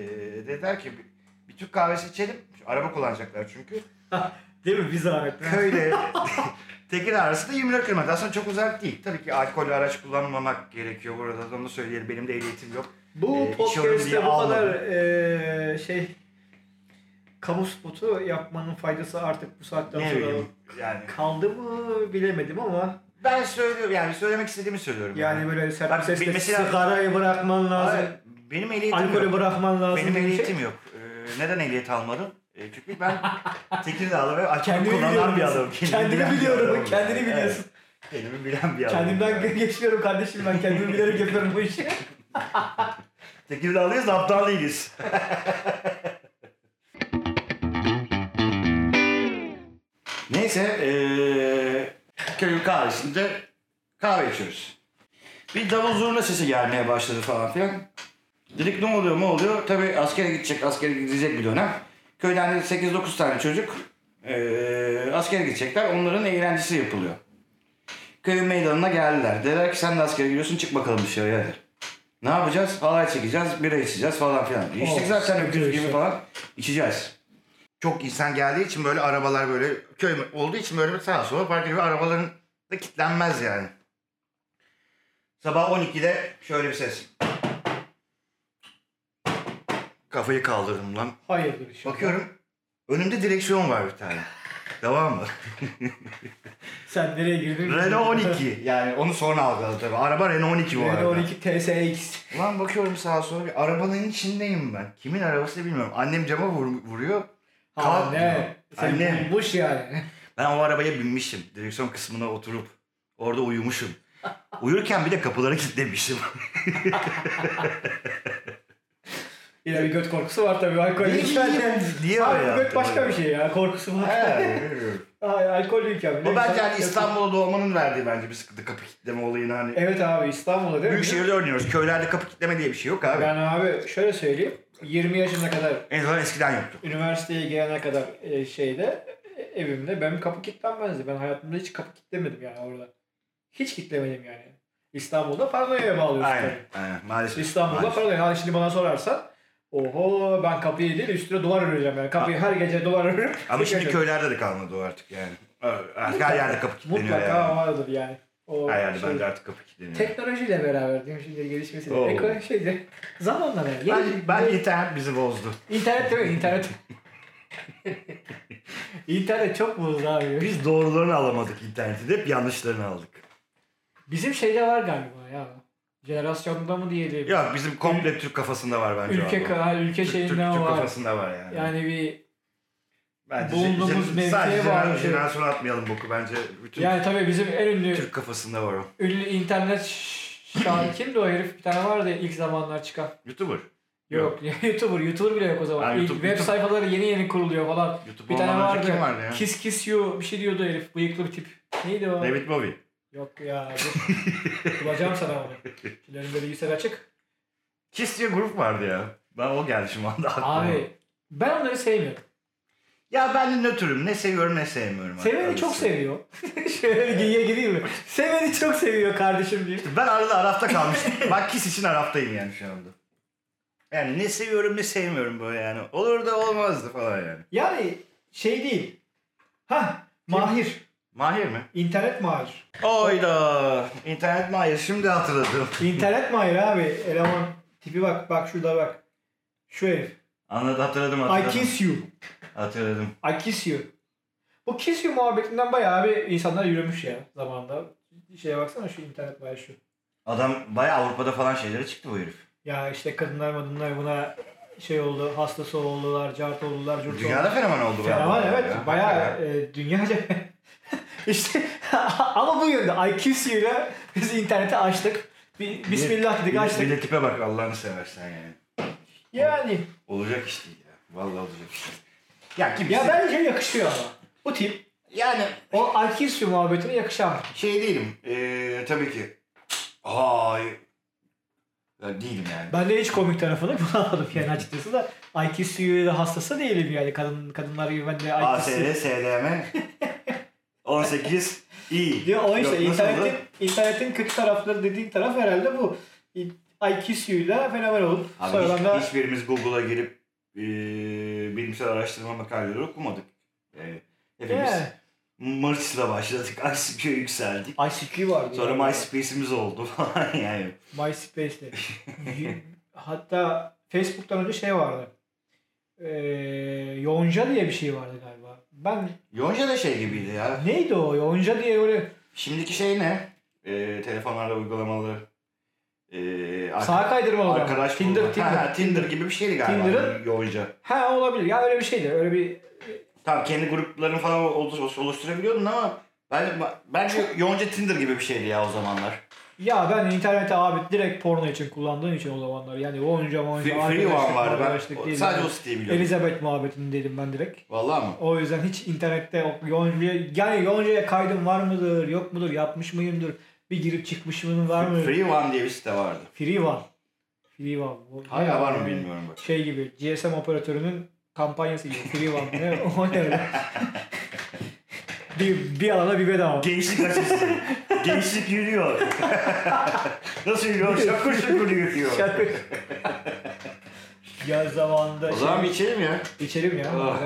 Speaker 2: dediler ki bir- bir Türk kahvesi içelim. Şu Araba kullanacaklar çünkü.
Speaker 1: Değil mi? Bir zahmet.
Speaker 2: Köyle Tekin arası da 20 kırmadı. Aslında çok uzak değil. Tabii ki alkollü araç kullanmamak gerekiyor burada. da Onu söyleyelim. Benim de ehliyetim yok.
Speaker 1: Bu
Speaker 2: Ee, içiyorum diye
Speaker 1: podcast'te bu kadar
Speaker 2: ağlamadım.
Speaker 1: eee şey kamu spotu yapmanın faydası artık bu saatten
Speaker 2: Ne
Speaker 1: sonra
Speaker 2: bileyim. Yani
Speaker 1: kaldı mı bilemedim ama
Speaker 2: ben söylüyorum. Yani söylemek istediğimi söylüyorum.
Speaker 1: yani böyle sen
Speaker 2: Bak,
Speaker 1: sesle
Speaker 2: mesela-
Speaker 1: sigarayı bırakman lazım.
Speaker 2: Hayır, benim ehliyetim yok.
Speaker 1: Alkolü bırakman lazım.
Speaker 2: Benim
Speaker 1: gibi bir şey.
Speaker 2: ehliyetim yok. Ee, neden ehliyet almadım? Ee, çünkü ben Tekirdağlı ve alkol
Speaker 1: Kendini biliyorum.
Speaker 2: kullanan bir adamım.
Speaker 1: Kendini
Speaker 2: bilen bir
Speaker 1: biliyorum.
Speaker 2: adamım.
Speaker 1: Kendini
Speaker 2: Evet,
Speaker 1: biliyorsun.
Speaker 2: Kendimi bilen bir adamım.
Speaker 1: Kendimden geçiyorum kardeşim ben. Kendimi bilerek yapıyorum bu işi.
Speaker 2: Tekirdağlıyız, aptal değiliz. Neyse, ee, eee köy kahvesinde kahve içiyoruz. Bir davul zurna sesi gelmeye başladı falan filan. Dedik ne oluyor ne oluyor? Tabii askere gidecek, askere gidecek bir dönem. Köyden de 8-9 tane çocuk eee askere gidecekler. Onların eğlencesi yapılıyor. Köyün meydanına geldiler. Dediler ki sen de askere gidiyorsun çık bakalım dışarıya. Hadi. Ne yapacağız? Halay çekeceğiz, bira içeceğiz falan filan. İçtik
Speaker 1: Oh,
Speaker 2: zaten öküz
Speaker 1: diyorsun.
Speaker 2: gibi falan. İçeceğiz. Çok insan geldiği için böyle arabalar böyle köy olduğu için böyle sağa sola park ediyor. Arabaların da kilitlenmez yani. Sabah 12'de şöyle bir ses. Kafayı kaldırdım lan.
Speaker 1: Hayırdır inşallah.
Speaker 2: Bakıyorum önümde direksiyon var bir tane. Devam mı?
Speaker 1: Sen nereye girdin?
Speaker 2: Renault 12. Yani onu sonra algıladı tabii. Araba Renault 12 bu arada.
Speaker 1: Renault 12 TSX.
Speaker 2: Ulan bakıyorum sağa sola bir arabanın içindeyim ben. Kimin arabası bilmiyorum. Annem cama vur- vuruyor.
Speaker 1: Ha
Speaker 2: Kalk
Speaker 1: ne?
Speaker 2: diyor.
Speaker 1: Seni
Speaker 2: Anne.
Speaker 1: bulmuş yani.
Speaker 2: Ben o arabaya binmişim. Direksiyon kısmına oturup orada uyumuşum. Uyurken bir de kapıları kilitlemişim.
Speaker 1: Yine bir göt korkusu var tabii. Alkol içmeden.
Speaker 2: Niye öyle
Speaker 1: Hayır, göt
Speaker 2: yaptım
Speaker 1: başka
Speaker 2: öyle?
Speaker 1: bir şey ya. Korkusu var.
Speaker 2: He, bilmiyorum.
Speaker 1: Hayır, alkol ülkem.
Speaker 2: Bu bence hani İstanbul'da doğmanın verdiği bence bir sıkıntı kapı kilitleme olayını hani.
Speaker 1: Evet abi İstanbul'da değil mi?
Speaker 2: Büyük şehirde oynuyoruz. Köylerde kapı kilitleme diye bir şey yok abi.
Speaker 1: Ben abi şöyle söyleyeyim. 20 yaşına kadar
Speaker 2: En azından eskiden yoktu.
Speaker 1: üniversiteye gelene kadar e, şeyde e, evimde benim kapı kilitlenmezdi. Ben hayatımda hiç kapı kilitlemedim yani orada. Hiç kilitlemedim yani. İstanbul'da paranoyaya bağlıyorsun
Speaker 2: Aynen.
Speaker 1: tabii.
Speaker 2: Aynen. Maalesef.
Speaker 1: İstanbul'da
Speaker 2: maalesef.
Speaker 1: paranoya. Hani şimdi bana sorarsan Oho ben kapıyı değil üstüne duvar öreceğim yani. Kapıyı her gece duvar örüp.
Speaker 2: Ama şimdi
Speaker 1: yaşıyorum.
Speaker 2: köylerde de kalmadı o artık yani. Artık her yerde kapı kilitleniyor
Speaker 1: Mutlaka
Speaker 2: yani.
Speaker 1: vardır yani. O
Speaker 2: Her yerde
Speaker 1: şey-
Speaker 2: bence artık kapı kilitleniyor.
Speaker 1: Teknolojiyle beraber diyeyim şimdi gelişmesiyle.
Speaker 2: Oo.
Speaker 1: Eko şeydi. şey, Zamanla yani.
Speaker 2: Ben, ben internet bizi bozdu.
Speaker 1: İnternet değil mi? İnternet. İnternet çok bozdu abi.
Speaker 2: Biz doğrularını alamadık internetin. Hep yanlışlarını aldık.
Speaker 1: Bizim şeyde var galiba ya. Jenerasyonda mı diyelim?
Speaker 2: Ya bizim komple Türk kafasında var bence.
Speaker 1: ülke
Speaker 2: abi.
Speaker 1: kadar ülke
Speaker 2: Türk, Türk, Türk
Speaker 1: şeyinden var.
Speaker 2: kafasında var yani.
Speaker 1: Yani bir
Speaker 2: bence
Speaker 1: bulunduğumuz
Speaker 2: jener-
Speaker 1: mevkiye
Speaker 2: sadece
Speaker 1: bağlı.
Speaker 2: jener- jenerasyon atmayalım boku bence. Bütün
Speaker 1: yani tabii bizim en ünlü
Speaker 2: Türk kafasında var o.
Speaker 1: ünlü internet ş- şahin kimdi o herif bir tane vardı ya ilk zamanlar çıkan.
Speaker 2: YouTuber.
Speaker 1: Yok, YouTuber, YouTuber bile yok o zaman.
Speaker 2: Ha,
Speaker 1: İlk
Speaker 2: YouTube-
Speaker 1: web
Speaker 2: YouTube-
Speaker 1: sayfaları yeni yeni kuruluyor falan.
Speaker 2: YouTube
Speaker 1: Bir tane
Speaker 2: olmadan önce
Speaker 1: vardı.
Speaker 2: Kim vardı ya?
Speaker 1: Kiss Kiss You bir şey diyordu herif. Bıyıklı bir tip. Neydi o?
Speaker 2: David Bowie.
Speaker 1: Yok ya. dur. Bulacağım sana onu. Şimdi elimde bilgisayar açık.
Speaker 2: Kiss diye grup vardı ya. Ben o geldi şu anda aklıma.
Speaker 1: Abi ben onları sevmiyorum.
Speaker 2: Ya ben de nötrüm. Ne seviyorum ne sevmiyorum.
Speaker 1: Seveni
Speaker 2: Arası.
Speaker 1: çok seviyor. Şöyle geyiğe gireyim mi? Seveni çok seviyor kardeşim diye.
Speaker 2: Ben arada Araf'ta kalmıştım. Bak Kiss için Araf'tayım yani şu anda. Yani ne seviyorum ne sevmiyorum böyle yani. Olur da olmazdı falan yani.
Speaker 1: Yani şey değil. Ha Mahir.
Speaker 2: Mahir mi?
Speaker 1: İnternet mahir.
Speaker 2: Oyda. İnternet Mahir şimdi hatırladım.
Speaker 1: İnternet mahir abi. Eleman tipi bak bak şurada bak. Şu herif.
Speaker 2: Anladım hatırladım
Speaker 1: I
Speaker 2: hatırladım.
Speaker 1: kiss you.
Speaker 2: Hatırladım.
Speaker 1: I kiss you. Bu kiss you muhabbetinden bayağı bir insanlar yürümüş ya zamanında. Şeye baksana şu internet mahir şu.
Speaker 2: Adam bayağı Avrupa'da falan şeylere çıktı bu herif.
Speaker 1: Ya işte kadınlar madınlar buna şey oldu, hastası oldular, cart oldular, curt
Speaker 2: Dünyada
Speaker 1: oldular.
Speaker 2: fenomen oldu. bu
Speaker 1: Fenomen
Speaker 2: adam
Speaker 1: evet.
Speaker 2: ya.
Speaker 1: Bayağı e, dünyaca. işte ama bu yönde I kiss you ile biz interneti açtık. Bir, bismillah dedik
Speaker 2: Bir-
Speaker 1: açtık.
Speaker 2: Bir de tipe bak Allah'ını seversen yani.
Speaker 1: Yani
Speaker 2: Olacak iş değil ya. Vallahi olacak iş değil. Ya kimse...
Speaker 1: ya bence yakışıyor ama. Bu tip
Speaker 2: Yani
Speaker 1: o I kiss you muhabbetine yakışan.
Speaker 2: şey değilim. Ee, tabii ki. Ay. Ya değilim yani.
Speaker 1: Ben de hiç komik tarafını bulamadım yani açıkçası da I kiss you da hastası değilim yani kadın kadınlar gibi ben de I kiss you.
Speaker 2: ASL, SDM, 18, iyi.
Speaker 1: Ya o işte
Speaker 2: Yok, nasıl oldu?
Speaker 1: internetin, internetin kötü tarafları dediğin taraf herhalde bu. I I kiss you'la fenomen olup
Speaker 2: Abi
Speaker 1: sonradan da
Speaker 2: hiç, hiçbirimiz Google'a girip e, bilimsel araştırma makaleleri okumadık. E, hepimiz
Speaker 1: Yeah.
Speaker 2: Mırç'la başladık. ICQ'ya yükseldik.
Speaker 1: ICQ vardı.
Speaker 2: Sonra
Speaker 1: yani.
Speaker 2: MySpace'imiz oldu falan yani.
Speaker 1: MySpace'de. Hatta Facebook'tan önce şey vardı. Ee, Yonca diye bir şey vardı galiba. Ben
Speaker 2: Yonca da şey gibiydi ya.
Speaker 1: neydi o? Yonca diye böyle
Speaker 2: Şimdiki şey ne? E, telefonlarda uygulamalı. E, arka-
Speaker 1: sağa kaydırma oldu.
Speaker 2: arkadaş
Speaker 1: Tinder,
Speaker 2: bulma.
Speaker 1: Tinder.
Speaker 2: Ha, Tinder gibi bir şeydi galiba.
Speaker 1: Tinder'ın-
Speaker 2: Yonca.
Speaker 1: Ha olabilir. Ya öyle bir şeydi. Öyle bir
Speaker 2: Tamam kendi grupların falan oluş- oluşturabiliyordun ama ben bence Yonca Tinder gibi bir şeydi ya o zamanlar.
Speaker 1: ya ben interneti abi direkt porno için kullandığım için o zamanlar. Yani Yonca, Monca,
Speaker 2: Free, free One
Speaker 1: arkadaşlık,
Speaker 2: vardı ben.
Speaker 1: arkadaşlık
Speaker 2: o-
Speaker 1: değil.
Speaker 2: Sadece
Speaker 1: Yani.
Speaker 2: o siteyi biliyorum.
Speaker 1: Elizabeth muhabbetini dedim ben direkt.
Speaker 2: Vallahi mı?
Speaker 1: O yüzden hiç internette o Yonca'ya yani Yonca'ya kaydım var mıdır yok mudur yapmış mıyımdır bir girip çıkmış mıyım var mı?
Speaker 2: Free One diye bir site vardı.
Speaker 1: Free var. Free var. Bu-
Speaker 2: Hala var mı
Speaker 1: yani
Speaker 2: bilmiyorum bak.
Speaker 1: Şey gibi GSM operatörünün kampanyası gibi Free var. Ne? O ne öyle? bir, bir alana bir bedava.
Speaker 2: Gençlik açısı. Gençlik yürüyor. Nasıl yürüyor? Şakır şakır yürüyor.
Speaker 1: Şarkı. Yaz zamanında
Speaker 2: O
Speaker 1: şey,
Speaker 2: zaman bir içelim ya.
Speaker 1: içelim ya.
Speaker 2: Ah.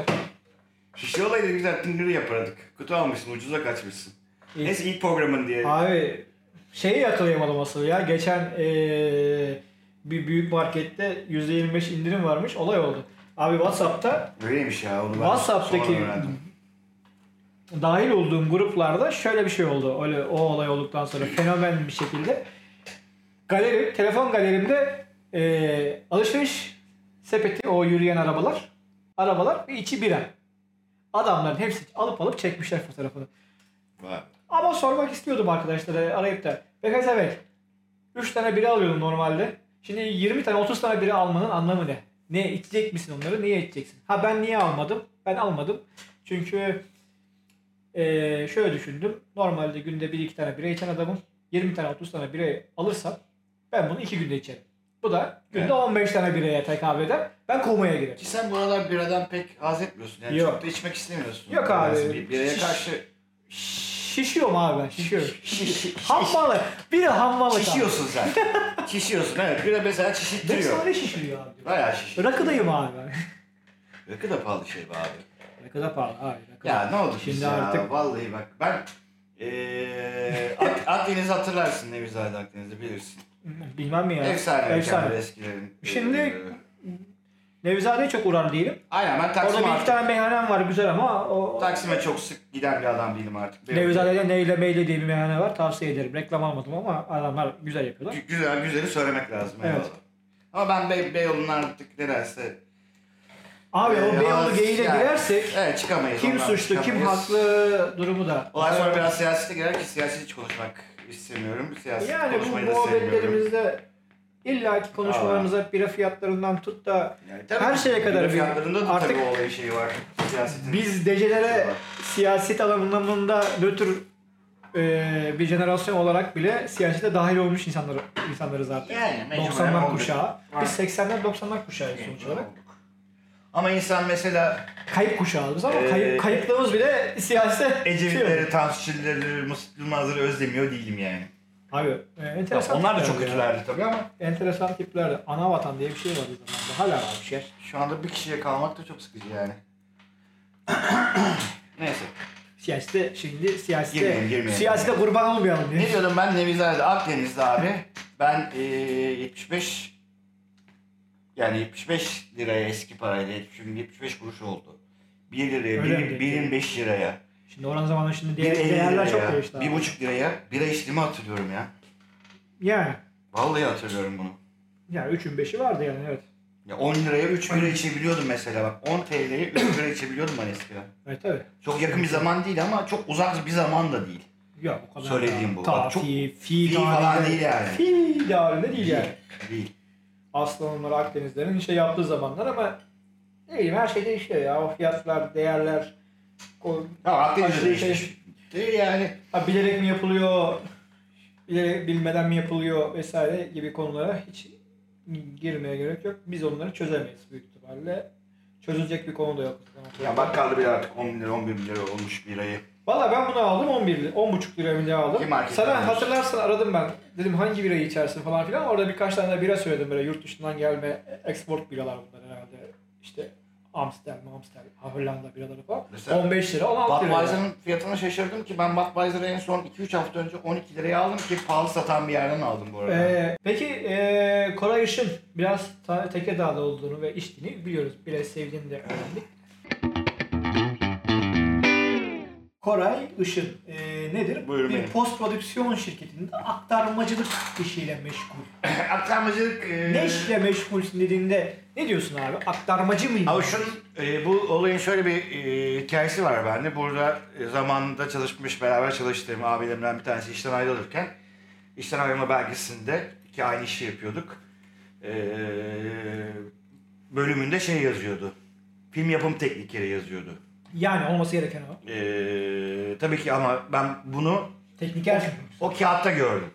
Speaker 2: Şişe olaydı güzel Tinder'ı yapardık. Kutu almışsın ucuza kaçmışsın.
Speaker 1: İyi.
Speaker 2: Neyse ilk programın diye.
Speaker 1: Abi şeyi yakalayamadım asıl ya. Geçen eee, bir büyük markette %25 indirim varmış. Olay oldu. Abi Whatsapp'ta
Speaker 2: Böyleymiş ya onu ben
Speaker 1: Whatsapp'taki-
Speaker 2: sonra öğrendim.
Speaker 1: dahil olduğum gruplarda şöyle bir şey oldu. Öyle o olay olduktan sonra fenomen bir şekilde galerim, telefon galerimde eee, alışveriş sepeti o yürüyen arabalar arabalar ve içi bira. Adamların hepsi alıp alıp çekmişler fotoğrafını.
Speaker 2: Vay.
Speaker 1: Ama sormak istiyordum arkadaşlara arayıp da. Bekas evet. 3 tane biri alıyordum normalde. Şimdi 20 tane 30 tane biri almanın anlamı ne? Ne içecek misin onları? Niye içeceksin? Ha ben niye almadım? Ben almadım. Çünkü eee, şöyle düşündüm. Normalde günde 1-2 tane bira içen adamım. 20 tane 30 tane bira alırsam ben bunu 2 günde içerim. Bu da günde
Speaker 2: Evet.
Speaker 1: 15 tane biraya tekabül eder. Ben kovmaya girerim.
Speaker 2: Ki sen bu aralar biradan pek haz etmiyorsun. Yani
Speaker 1: Yok.
Speaker 2: çok da içmek istemiyorsun.
Speaker 1: Yok abi.
Speaker 2: Biraz bir- Biraya
Speaker 1: Şiş-
Speaker 2: karşı
Speaker 1: Şişiyorum abi ben. Şişiyorum. hammalı. Biri hammalı. abi.
Speaker 2: şişiyorsun sen. şişiyorsun evet. Bir de mesela
Speaker 1: Ne
Speaker 2: şişittiriyor.
Speaker 1: sonra şişiriyor abi.
Speaker 2: Bayağı şiş.
Speaker 1: Rakıdayım abi ben.
Speaker 2: Rakı da pahalı şey be abi.
Speaker 1: Rakı da pahalı abi. Rakı
Speaker 2: Ya ne oldu
Speaker 1: Şimdi
Speaker 2: şimdi ya?
Speaker 1: artık-
Speaker 2: Vallahi bak ben eee Ak- Akdeniz hatırlarsın Nevizade Akdeniz'i bilirsin.
Speaker 1: Bilmem mi ya?
Speaker 2: Efsane mekanlar
Speaker 1: Efsane.
Speaker 2: eskilerin.
Speaker 1: Şimdi-
Speaker 2: Eee,
Speaker 1: Nevzade'ye çok uğrar değilim.
Speaker 2: aynen ben
Speaker 1: Orada
Speaker 2: Taksim'e
Speaker 1: bir iki
Speaker 2: artık,
Speaker 1: tane meyhanem var güzel ama o...
Speaker 2: Taksim'e çok sık giden bir adam değilim artık. Benim-
Speaker 1: Nevzade'de Neyle Meyle diye bir meyhane var. Tavsiye ederim. Reklam almadım ama adamlar güzel yapıyorlar.
Speaker 2: Gü- Güzel güzeli söylemek lazım.
Speaker 1: Evet.
Speaker 2: eyvallah. Ama ben Bey, Beyoğlu'nun artık nedense...
Speaker 1: Abi o
Speaker 2: eee,
Speaker 1: Beyoğlu
Speaker 2: az-
Speaker 1: geyiğine
Speaker 2: yani-
Speaker 1: girersek
Speaker 2: Evet çıkamayız.
Speaker 1: kim
Speaker 2: ondan
Speaker 1: suçlu kim
Speaker 2: çıkamayız.
Speaker 1: haklı durumu da.
Speaker 2: Olay sonra biraz siyasete girer ki siyaset hiç konuşmak istemiyorum. Siyaset
Speaker 1: Yani bu
Speaker 2: konuşmayı da sevmiyorum.
Speaker 1: muhabbetlerimizde illaki konuşmalarımıza bira fiyatlarından tut da
Speaker 2: Yani
Speaker 1: her şeye kadar bir-
Speaker 2: fiyatlarında da
Speaker 1: artık-
Speaker 2: tabii o olayın şeyi var. Siyasetin.
Speaker 1: Biz decelere siyaset alanında nötr e, bir jenerasyon olarak bile siyasete dahil olmuş insanlar, insanlarız artık.
Speaker 2: Yani mecburen
Speaker 1: 90'lar
Speaker 2: olduk.
Speaker 1: kuşağı. Biz
Speaker 2: Artık.
Speaker 1: 80'ler 90'lar kuşağıyız sonuç olarak.
Speaker 2: Ama insan mesela
Speaker 1: Kayıp kuşağız ama
Speaker 2: Ee,
Speaker 1: kayıp, kayıplığımız bile siyasete... şey
Speaker 2: Ecevitleri,
Speaker 1: oldu.
Speaker 2: Tansu Mustafa Yılmazları özlemiyor değilim yani.
Speaker 1: Abi e, enteresan
Speaker 2: Onlar da çok
Speaker 1: tiplerdi ya.
Speaker 2: kötülerdi tabii ama
Speaker 1: Enteresan tiplerdi. Ana vatan diye bir şey vardı zamanında. Hala var bir şey.
Speaker 2: şu anda bir kişiye kalmak da çok sıkıcı yani. Neyse.
Speaker 1: Siyasete şimdi siyasete
Speaker 2: Girmeyelim, girmeyelim.
Speaker 1: siyasete kurban olmayalım diye.
Speaker 2: Ne diyordum ben Nevizade Akdeniz'de abi. Ben eee, 75 yani 75 liraya eski parayla şimdi 75 kuruş oldu. 1 liraya,
Speaker 1: Öyle
Speaker 2: 1,
Speaker 1: mi?
Speaker 2: 5 liraya,
Speaker 1: Şimdi oran zamanla şimdi
Speaker 2: 1
Speaker 1: değer,
Speaker 2: 50
Speaker 1: değerler çok
Speaker 2: liraya,
Speaker 1: değişti. abi.
Speaker 2: 1,5 liraya bira içtiğimi hatırlıyorum ya.
Speaker 1: Yani.
Speaker 2: Vallahi hatırlıyorum bunu.
Speaker 1: Yani 3'ün 5'i vardı yani evet.
Speaker 2: Ya 10 liraya 3 bira içebiliyordum mesela bak. 10 TL'ye 3 bira içebiliyordum ben eskiden.
Speaker 1: Evet tabii.
Speaker 2: Çok yakın bir zaman değil ama çok uzak bir zaman da değil.
Speaker 1: Yok o kadar.
Speaker 2: Söylediğim bu.
Speaker 1: Ta,
Speaker 2: Bak, çok-
Speaker 1: fi,
Speaker 2: Değil
Speaker 1: fi,
Speaker 2: falan
Speaker 1: dağında-
Speaker 2: değil yani.
Speaker 1: Fi dağında değil yani.
Speaker 2: Değil.
Speaker 1: Aslanlar Akdenizlerin şey yaptığı zamanlar ama ne bileyim her şey değişiyor ya. O fiyatlar, değerler, o-
Speaker 2: Ya Akdeniz'de
Speaker 1: Aşırı şey-
Speaker 2: değişmiş. Değil yani.
Speaker 1: ha, bilerek mi yapılıyor, bilerek, bilmeden mi yapılıyor vesaire gibi konulara hiç girmeye gerek yok. Biz onları çözemeyiz büyük ihtimalle. Çözülecek bir konu da yok.
Speaker 2: Ya bakkalda bile artık 10 bin lira 11 bin lira olmuş birayı.
Speaker 1: Valla ben bunu aldım 11 lira, 10,5 liraya mı ne aldım.
Speaker 2: Kim marketten
Speaker 1: Sana
Speaker 2: almış?
Speaker 1: hatırlarsan aradım ben. Dedim hangi birayı içersin falan filan. Orada birkaç tane de bira söyledim böyle yurt dışından gelme export biralar bunlar herhalde. İşte Amsterdam, Amsterdam, Hollanda biraları falan.
Speaker 2: Mesela
Speaker 1: 15 lira, 16 lira.
Speaker 2: Budweiser'ın fiyatına şaşırdım ki ben Budweiser'ı en son 2-3 hafta önce 12 liraya aldım ki pahalı satan bir yerden aldım bu arada.
Speaker 1: Ee, peki ee, Koray Işın biraz ta- Tekirdağ'da olduğunu ve içtiğini biliyoruz. Bile sevdiğini de öğrendik. Koray Işın ee, nedir?
Speaker 2: Buyurun
Speaker 1: bir
Speaker 2: benim.
Speaker 1: post prodüksiyon şirketinde aktarmacılık işiyle meşgul.
Speaker 2: Aktarmacılık... E,
Speaker 1: Ne işle meşgulsün dediğinde ne diyorsun abi? Aktarmacı mıyım?
Speaker 2: Ama şunun, e, bu olayın şöyle bir e, hikayesi var bende. Burada e, zamanında çalışmış, beraber çalıştığım abilerimden bir tanesi işten ayrılırken işten ayrılma belgesinde ki aynı işi yapıyorduk. E, bölümünde şey yazıyordu. Film yapım teknikleri yazıyordu.
Speaker 1: Yani olması gereken o.
Speaker 2: E, tabii ki ama ben bunu
Speaker 1: Tekniker mi?
Speaker 2: o kağıtta gördüm.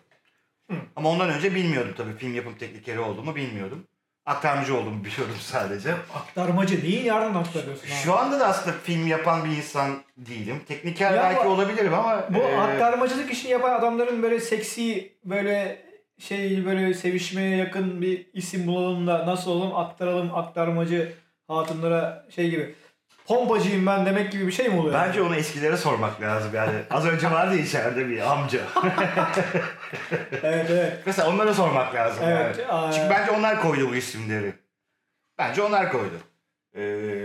Speaker 1: Hı.
Speaker 2: Ama ondan önce bilmiyordum tabii film yapım teknikleri olduğumu bilmiyordum. Aktarmacı olduğumu biliyordum sadece.
Speaker 1: Aktarmacı değil yardım aktarıyorsun abi.
Speaker 2: Şu anda da aslında film yapan bir insan değilim. Tekniker
Speaker 1: Ya
Speaker 2: belki
Speaker 1: bu-
Speaker 2: olabilirim ama
Speaker 1: Bu
Speaker 2: e,
Speaker 1: aktarmacılık işini yapan adamların böyle seksi böyle şey böyle sevişmeye yakın bir isim bulalım da nasıl olalım aktaralım aktarmacı hatunlara şey gibi. Pompacıyım ben demek gibi bir şey mi oluyor?
Speaker 2: bence onu eskilere sormak lazım yani. Az önce vardı ya içeride bir amca.
Speaker 1: Evet evet.
Speaker 2: Mesela onlara sormak lazım
Speaker 1: Evet.
Speaker 2: yani.
Speaker 1: aa,
Speaker 2: Çünkü bence onlar koydu bu isimleri. Bence onlar koydu. E,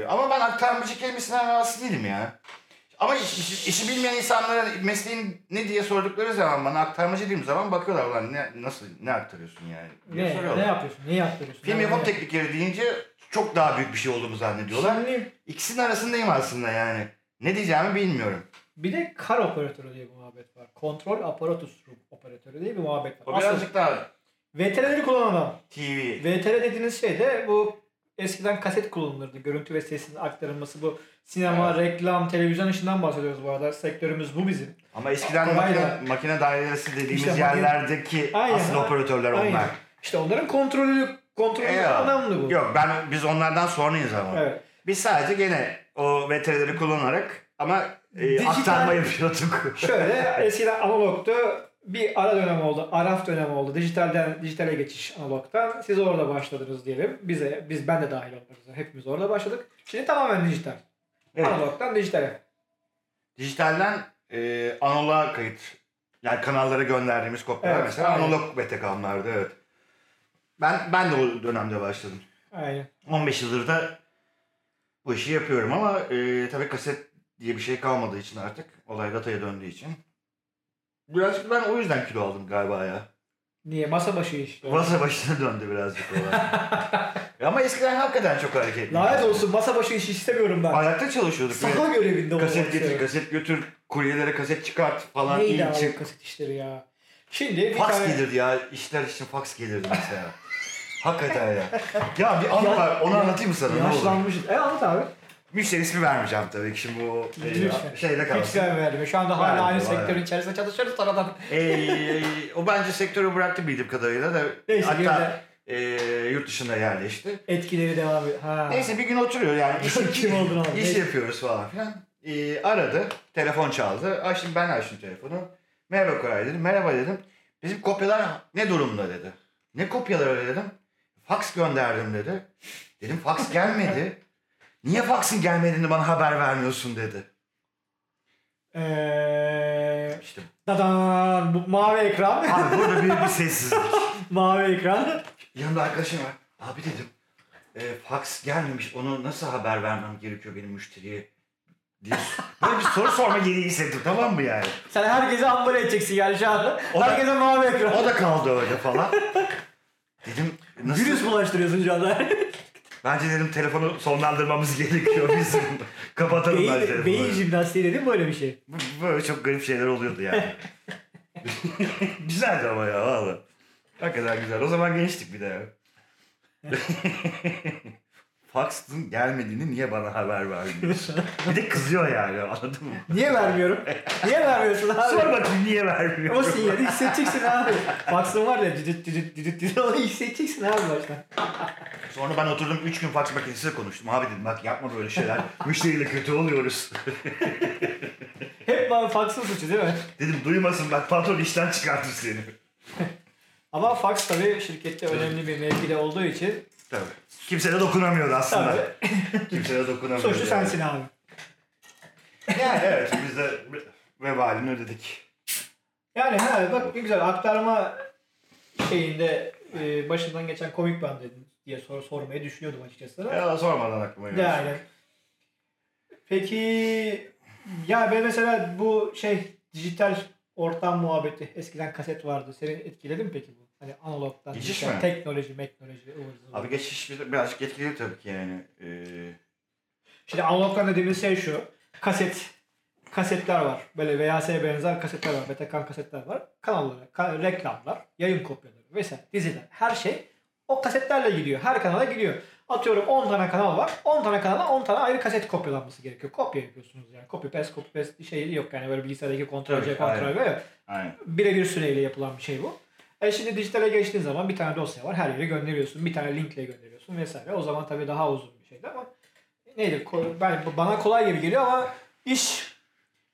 Speaker 2: ama ben aktarmacı kelimesinden rahatsız değilim ya. Ama iş- iş- işi bilmeyen insanlara mesleğin ne diye sordukları zaman bana aktarmacı dediğim zaman bakıyorlar ulan ne, nasıl ne aktarıyorsun yani diye
Speaker 1: ne,
Speaker 2: soruyorlar.
Speaker 1: ne yapıyorsun? Ne yaptırıyorsun?
Speaker 2: Film
Speaker 1: Ne-
Speaker 2: yapım
Speaker 1: ne-
Speaker 2: teknikleri deyince çok daha büyük bir şey olduğunu zannediyorlar.
Speaker 1: Şimdi
Speaker 2: İkisinin arasındayım aslında yani. Ne diyeceğimi bilmiyorum.
Speaker 1: bir de kar operatörü diye bir muhabbet var. Kontrol aparatus operatörü diye bir muhabbet
Speaker 2: O
Speaker 1: var. Aslında
Speaker 2: birazcık daha
Speaker 1: VTR'leri kullanan adam.
Speaker 2: TV.
Speaker 1: VTR dediğiniz şey de bu eskiden kaset kullanılırdı. Görüntü ve sesin aktarılması bu sinema, reklam, televizyon işinden bahsediyoruz bu arada. Sektörümüz bu bizim.
Speaker 2: Ama eskiden
Speaker 1: Kolay
Speaker 2: makine,
Speaker 1: da.
Speaker 2: makine dairesi dediğimiz
Speaker 1: İşte makine-
Speaker 2: yerlerdeki
Speaker 1: Aynen.
Speaker 2: asıl operatörler onlar.
Speaker 1: Aynen. İşte onların kontrolü, kontrolü
Speaker 2: Eyvallah.
Speaker 1: önemli bu.
Speaker 2: Yok ben biz onlardan sonrayız ama.
Speaker 1: Evet.
Speaker 2: Biz sadece gene o VTR'leri kullanarak ama e,
Speaker 1: Dijital-
Speaker 2: aktarma yapıyorduk.
Speaker 1: Şöyle eskiden analogtu. Bir ara dönem oldu. Araf dönemi oldu. Dijitalden dijitale geçiş analogtan. Siz orada başladınız diyelim. Bize biz ben de dahil olmak üzere hepimiz orada başladık. Şimdi tamamen dijital.
Speaker 2: Evet.
Speaker 1: Analogtan dijitale.
Speaker 2: Dijitalden e, analoğa kayıt. Yani kanallara gönderdiğimiz kopyalar
Speaker 1: Evet,
Speaker 2: mesela
Speaker 1: aynen.
Speaker 2: analog VT kanlardı evet. Ben ben de o dönemde başladım.
Speaker 1: Aynen.
Speaker 2: 15 yıldır da bu işi yapıyorum ama e, tabii kaset diye bir şey kalmadığı için artık olay dataya döndüğü için. Birazcık ben o yüzden kilo aldım galiba ya.
Speaker 1: Niye? Masa başı işte.
Speaker 2: Masa başına döndü birazcık olay. ama eskiden hakikaten çok hareketli.
Speaker 1: Lanet olsun masa başı işi istemiyorum ben.
Speaker 2: Ayakta çalışıyorduk. böyle.
Speaker 1: Saha görevinde olmak
Speaker 2: Kaset getir,
Speaker 1: istiyorum.
Speaker 2: kaset götür, kuryelere kaset çıkart falan.
Speaker 1: Neydi
Speaker 2: iyi
Speaker 1: abi
Speaker 2: çık.
Speaker 1: kaset işleri ya? Şimdi bir
Speaker 2: Fax
Speaker 1: tane...
Speaker 2: gelirdi ya. işler için fax gelirdi mesela. hakikaten ya. Ya bir anı
Speaker 1: Ya-
Speaker 2: var. Onu anlatayım mı sana? Ne olur.
Speaker 1: Yaşlanmışız. E anlat abi.
Speaker 2: Müşteri ismi vermeyeceğim tabii ki. Şimdi o
Speaker 1: Lütfen.
Speaker 2: e, şeyde
Speaker 1: Hiç
Speaker 2: kalsın.
Speaker 1: sevmeyelim. Şu anda
Speaker 2: Verdim,
Speaker 1: hala aynı
Speaker 2: verdim.
Speaker 1: sektörün içerisinde çalışıyoruz sonradan.
Speaker 2: Ee, o bence sektörü bıraktı bildiğim kadarıyla da
Speaker 1: Neyse,
Speaker 2: hatta e, yurt dışında yerleşti.
Speaker 1: Etkileri devam ediyor. Ha.
Speaker 2: Neyse bir gün oturuyor yani iş,
Speaker 1: Kim oldun abi?
Speaker 2: iş
Speaker 1: Neyse.
Speaker 2: yapıyoruz falan filan. Ee, aradı, telefon çaldı. Açtım ben açtım telefonu. Merhaba Koray dedim. Merhaba dedim. Bizim kopyalar ne durumda dedi. Ne kopyaları öyle dedim. Fax gönderdim dedi. Dedim fax gelmedi. Niye faxın gelmediğini bana haber vermiyorsun dedi.
Speaker 1: Ee,
Speaker 2: İşte
Speaker 1: dadan, bu mavi ekran.
Speaker 2: abi burada bir, bir sessizlik.
Speaker 1: mavi ekran.
Speaker 2: Yanımda arkadaşım var. Abi dedim. E, fax gelmemiş. Onu nasıl haber vermem gerekiyor benim müşteriye? Diye. Böyle bir soru sorma gereği hissettim tamam mı yani?
Speaker 1: Sen herkese ambale edeceksin yani şu anda.
Speaker 2: O da-
Speaker 1: herkese mavi ekran.
Speaker 2: O da kaldı öyle falan. Dedim nasıl?
Speaker 1: Virüs bulaştırıyorsun şu anda.
Speaker 2: Bence dedim telefonu sonlandırmamız gerekiyor bizim. Kapatalım ben
Speaker 1: beyin,
Speaker 2: telefonu.
Speaker 1: beyin jimnastiği dedim böyle bir şey.
Speaker 2: Bu- Böyle çok garip şeyler oluyordu yani. Güzeldi ama ya valla. Hakikaten güzel. O zaman gençtik bir de ya. Fax'ın gelmediğini niye bana haber vermiyorsun? bir de kızıyor yani anladın mı?
Speaker 1: Niye vermiyorum? Niye vermiyorsun abi?
Speaker 2: Sor bakayım niye
Speaker 1: O
Speaker 2: vermiyorsun?
Speaker 1: sinyali hissedeceksin abi. Faksın var ya düdüt düdüt düdüt düdüt onu hissedeceksin abi baştan.
Speaker 2: Sonra ben oturdum 3 gün fax makinesiyle konuştum. Abi dedim bak yapma böyle şeyler. Müşteriyle kötü oluyoruz.
Speaker 1: Hep bana faksın suçu değil mi?
Speaker 2: dedim duymasın bak patron işten çıkartır seni.
Speaker 1: Ama faks tabii şirkette önemli bir mevkide olduğu için
Speaker 2: Tabii. Kimse de dokunamıyordu aslında.
Speaker 1: tabii
Speaker 2: Kimse de dokunamıyordu.
Speaker 1: suçlu
Speaker 2: yani.
Speaker 1: sensin abi.
Speaker 2: Yani evet biz de vebalini ödedik.
Speaker 1: Yani ha bak ne güzel aktarma şeyinde e, başından geçen komik ben dedim diye soru sormayı düşünüyordum açıkçası. da.
Speaker 2: Ya sormadan aklıma geldi.
Speaker 1: Yani. Peki ya ben mesela bu şey dijital ortam muhabbeti eskiden kaset vardı. Seni etkiledi mi peki bu? Hani analogdan
Speaker 2: Geçiş
Speaker 1: dijital,
Speaker 2: mi?
Speaker 1: teknoloji, meknoloji, ıvır zıvır.
Speaker 2: Abi geçiş bir- birazcık etkili tabii ki yani. Ee,
Speaker 1: Şimdi analogdan dediğimiz şey şu. Kaset kasetler var. Böyle VHS'ye benzer kasetler var. Betakan kasetler var. Kanalları, ka- reklamlar, yayın kopyaları vesaire diziler. Her şey o kasetlerle gidiyor. Her kanala gidiyor. Atıyorum 10 tane kanal var. 10 tane kanala 10 tane ayrı kaset kopyalanması gerekiyor. Kopya yapıyorsunuz yani. Copy paste, copy paste şey yok yani böyle bilgisayardaki kontrol
Speaker 2: Tabii,
Speaker 1: C, kontrol V yok.
Speaker 2: aynen.
Speaker 1: Birebir süreyle yapılan bir şey bu. E şimdi dijitale geçtiğin zaman bir tane dosya var. Her yere gönderiyorsun. Bir tane linkle gönderiyorsun vesaire. O zaman tabii daha uzun bir şeydi ama neydi? ko- Ben, bana kolay gibi geliyor ama iş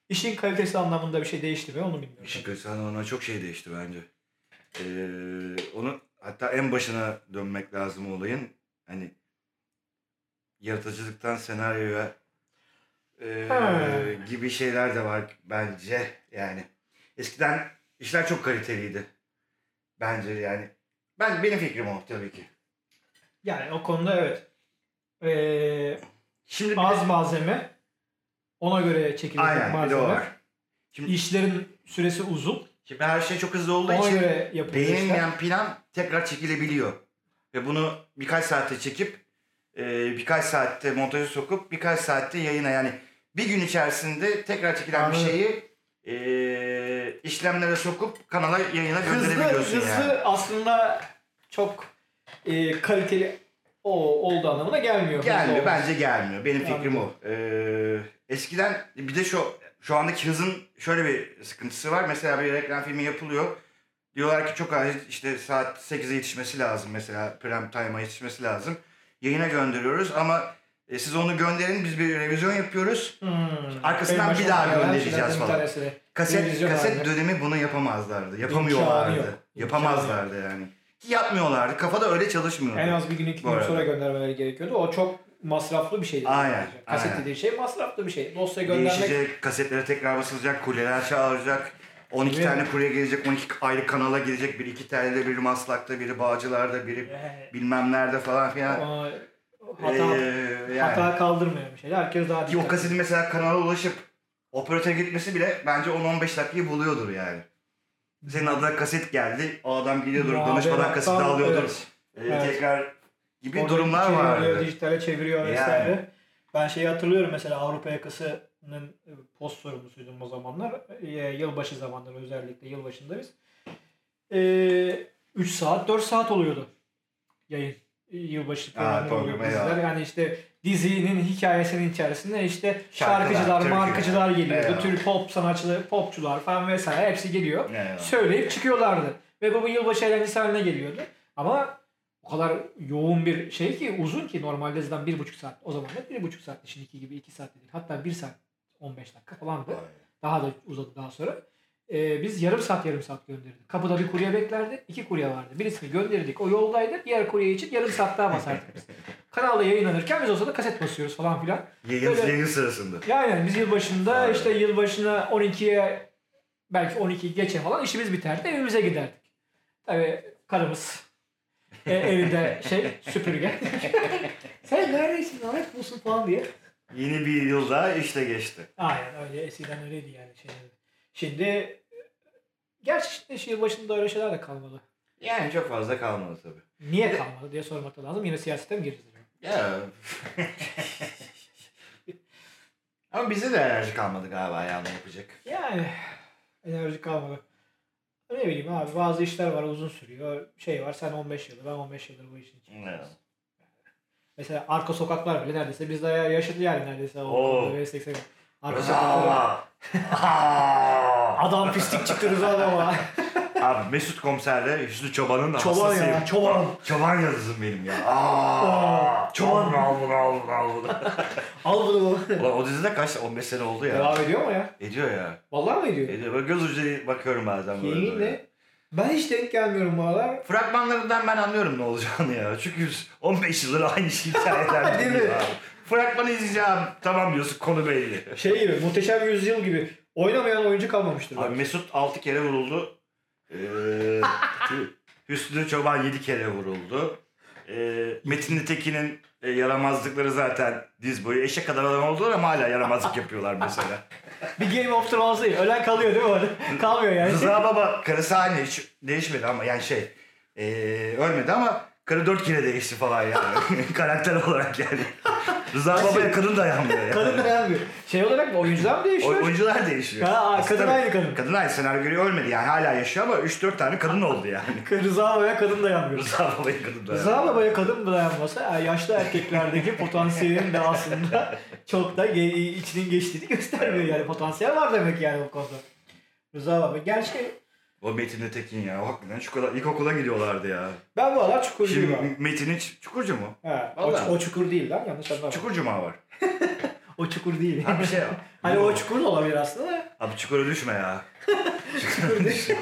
Speaker 1: işin kalitesi anlamında bir şey değişti mi onu bilmiyorum.
Speaker 2: İşin kötü ona çok şey değişti bence. Ee, onu hatta en başına dönmek lazım olayın. Hani yaratıcılıktan senaryoya ee,
Speaker 1: He.
Speaker 2: gibi şeyler de var bence yani. Eskiden işler çok kaliteliydi. Bence yani. Ben benim fikrim o tabii ki.
Speaker 1: Yani o konuda evet. Ee,
Speaker 2: Şimdi bir de-
Speaker 1: az malzeme ona göre çekilecek
Speaker 2: Aynen bir de
Speaker 1: malzeme.
Speaker 2: o var. Şimdi,
Speaker 1: İşlerin süresi uzun.
Speaker 2: şimdi her şey çok hızlı olduğu
Speaker 1: Ona
Speaker 2: için
Speaker 1: göre yapılıyor işler.
Speaker 2: beğenmeyen plan tekrar çekilebiliyor. Ve bunu birkaç saatte çekip e, birkaç saatte montaja sokup birkaç saatte yayına yani bir gün içerisinde tekrar çekilen bir
Speaker 1: Anladım.
Speaker 2: şeyi e, işlemlere sokup kanala yayına
Speaker 1: Hızlı,
Speaker 2: gönderebiliyorsun
Speaker 1: hızlı
Speaker 2: yani.
Speaker 1: aslında çok e, kaliteli o olduğu anlamına gelmiyor.
Speaker 2: Gelmiyor
Speaker 1: Hızlı olması.
Speaker 2: bence gelmiyor. Benim fikrim
Speaker 1: Anladım.
Speaker 2: o. Ee, eskiden bir de şu şu andaki hızın şöyle bir sıkıntısı var. Mesela bir reklam filmi yapılıyor. Diyorlar ki çok acil işte saat 8'e yetişmesi lazım mesela prime time'a yetişmesi lazım. Yayına gönderiyoruz ama e, siz onu gönderin biz bir revizyon yapıyoruz.
Speaker 1: Hmm.
Speaker 2: Arkasından
Speaker 1: En
Speaker 2: bir
Speaker 1: başa
Speaker 2: daha
Speaker 1: gelen
Speaker 2: göndereceğiz
Speaker 1: şeylerden bir
Speaker 2: falan.
Speaker 1: tanesini.
Speaker 2: Kaset
Speaker 1: Revizyon
Speaker 2: kaset
Speaker 1: abi.
Speaker 2: dönemi bunu yapamazlardı.
Speaker 1: İmkanı
Speaker 2: Yapamıyorlardı.
Speaker 1: yok.
Speaker 2: Yapamazlardı yani. Ki yapmıyorlardı. Kafada öyle çalışmıyordu.
Speaker 1: En az bir gün iki
Speaker 2: Bu
Speaker 1: gün
Speaker 2: arada.
Speaker 1: sonra göndermeleri gerekiyordu. O çok masraflı bir şeydi.
Speaker 2: Aynen,
Speaker 1: Kaset
Speaker 2: aynen.
Speaker 1: dediği şey masraflı bir şey. Dosya göndermek
Speaker 2: Değişecek, kasetlere tekrar basılacak, kuryeler çağıracak. 12
Speaker 1: Evet.
Speaker 2: tane kurye gelecek, 12 ayrı kanala gelecek. Biri iki telde, biri Maslak'ta, biri Bağcılar'da, biri
Speaker 1: Ee,
Speaker 2: bilmem nerede falan filan.
Speaker 1: ama
Speaker 2: Ee,
Speaker 1: hata,
Speaker 2: yani.
Speaker 1: hata kaldırmıyor bir şey. Herkes daha
Speaker 2: Ki o kasetin mesela kanala ulaşıp operatöre gitmesi bile bence 10-15 dakikayı buluyordur yani. Senin adına kaset geldi, o adam geliyordur,
Speaker 1: Muhabere-
Speaker 2: danışmadan kaseti
Speaker 1: Tam-
Speaker 2: alıyordur.
Speaker 1: evet.
Speaker 2: Ee,
Speaker 1: Evet.
Speaker 2: Tekrar gibi
Speaker 1: Orada
Speaker 2: durumlar
Speaker 1: şey
Speaker 2: vardı.
Speaker 1: oluyor, dijitale çeviriyor
Speaker 2: Yani.
Speaker 1: vesaire. Ben şeyi hatırlıyorum mesela Avrupa yakasının e, post sorumlusuydum o zamanlar. E, Yılbaşı zamanları özellikle yılbaşında biz. 3 saat 4 saat oluyordu yayın. E, Yılbaşı
Speaker 2: Ha,
Speaker 1: programı oluyor
Speaker 2: programa ya.
Speaker 1: diziler. Yani işte dizinin hikayesinin içerisinde işte
Speaker 2: Şarkılar,
Speaker 1: şarkıcılar,
Speaker 2: türküler.
Speaker 1: markıcılar geliyordu.
Speaker 2: Eyvallah.
Speaker 1: Türk pop sanatçıları, popçular falan vesaire hepsi geliyor
Speaker 2: Yani.
Speaker 1: söyleyip çıkıyorlardı. Ve bu, bu yılbaşı eğlencesi haline geliyordu. Ama o kadar yoğun bir şey ki uzun ki normalde zaten bir buçuk saat. O zaman da bir buçuk saat şimdiki gibi iki saat değil. Hatta bir saat 15 dakika falandı. Daha da uzadı daha sonra. Ee, biz yarım saat yarım saat gönderirdik. Kapıda bir kurye beklerdi. iki kurye vardı. Birisini gönderirdik. O yoldaydı. Diğer kurye için yarım saat daha basardık biz. kanalda yayınlanırken biz olsa da kaset basıyoruz falan filan.
Speaker 2: Yayın,
Speaker 1: Böyle-
Speaker 2: yayın sırasında.
Speaker 1: Yani biz yılbaşında
Speaker 2: Aynen.
Speaker 1: işte yılbaşına 12'ye belki 12 geçe falan işimiz biterdi evimize giderdik. Tabii karımız e, evinde şey süpürge. Sen neredesin Ahmet bulsun falan diye.
Speaker 2: Yeni bir yıl daha işte geçti.
Speaker 1: Aynen öyle eskiden öyleydi yani. Şimdi, şimdi gerçi işte şu yılbaşında öyle şeyler de kalmalı.
Speaker 2: Yani çok fazla kalmadı tabii.
Speaker 1: Niye kalmalı diye sormak da lazım. Yine siyasete mi gireceğiz? acaba?
Speaker 2: Ya. Ama bize de enerji kalmadı galiba yani yapacak.
Speaker 1: Yani enerji kalmalı. Ne bileyim abi bazı işler var uzun sürüyor. Şey var sen 15 yıldır ben 15 yıldır bu işin içindeyiz.
Speaker 2: Evet.
Speaker 1: Mesela arka sokaklar bile neredeyse biz de yaşadı yani neredeyse. O
Speaker 2: Oo.
Speaker 1: konuda böyle seksek- Arka sokaklar.
Speaker 2: Rıza! Aa!
Speaker 1: Adam pislik çıktı Rıza ama.
Speaker 2: Abi Mesut komiserle Hüsnü Çoban'ın da
Speaker 1: Çoban ya,
Speaker 2: hastasıyım.
Speaker 1: çoban.
Speaker 2: Çoban yazısım benim ya. Aa,
Speaker 1: Aa, çoban.
Speaker 2: Al bunu al bunu al bunu.
Speaker 1: Al bunu.
Speaker 2: Ulan o dizide kaç 15 sene oldu ya.
Speaker 1: Devam ediyor mu ya?
Speaker 2: Ediyor ya.
Speaker 1: Vallahi mi ediyor?
Speaker 2: Ediyor. Böyle göz ucuyla bakıyorum bazen böyle. böyle.
Speaker 1: Yeminle. Ben hiç denk gelmiyorum bu aralar.
Speaker 2: Fragmanlarından ben anlıyorum ne olacağını ya. Çünkü 15 yıldır aynı şeyi hikayeler.
Speaker 1: Değil mi?
Speaker 2: dönüyor abi. Fragmanı izleyeceğim. Tamam diyorsun konu belli.
Speaker 1: Şey gibi, muhteşem yüzyıl gibi. Oynamayan oyuncu kalmamıştır.
Speaker 2: Abi Mesut 6 kere vuruldu. Ee, Hü- Hüsnü Çoban 7 kere vuruldu. Ee, Metin Tekin'in e, yaramazlıkları zaten diz boyu eşek kadar adam oldular ama hala yaramazlık yapıyorlar mesela.
Speaker 1: bir Game of Thrones değil. Ölen kalıyor değil mi orada? Kalmıyor yani.
Speaker 2: Rıza Baba karısı aynı hiç değişmedi ama yani şey e, ölmedi ama karı 4 kere değişti falan yani karakter olarak yani. Rıza Baba'ya kadın dayanmıyor yani.
Speaker 1: Kadın da beğenmiyor. Şey olarak mı? Oyuncular mı
Speaker 2: Oy-
Speaker 1: değişiyor?
Speaker 2: Oyuncular değişiyor.
Speaker 1: Ha,
Speaker 2: Aslında
Speaker 1: kadın
Speaker 2: tabii,
Speaker 1: aynı kadın.
Speaker 2: Kadın aynı senaryoyu ölmedi yani hala yaşıyor ama 3-4 tane kadın oldu yani.
Speaker 1: Rıza Baba'ya kadın dayanmıyor.
Speaker 2: Rıza Baba'ya kadın dayanmıyor.
Speaker 1: Rıza Baba'ya kadın dayanmasa yani yaşlı erkeklerdeki potansiyelin de aslında çok da ge- içinin geçtiğini göstermiyor yani. Potansiyel var demek yani bu konuda. Rıza Baba. Gerçi
Speaker 2: O Metin Tekin ya. Hakikaten şu kadar ilkokula gidiyorlardı ya.
Speaker 1: ben bu aralar çukurcuyum abi.
Speaker 2: Şimdi Metin'in Ç- Çukurcu mu?
Speaker 1: He, o,
Speaker 2: Vallahi.
Speaker 1: o çukur değil lan yanlış anlama.
Speaker 2: Çukurcu mu var?
Speaker 1: O çukur değil.
Speaker 2: Ha bir şey.
Speaker 1: hani o çukur da olabilir aslında da.
Speaker 2: Abi çukura düşme ya.
Speaker 1: Çukur değil.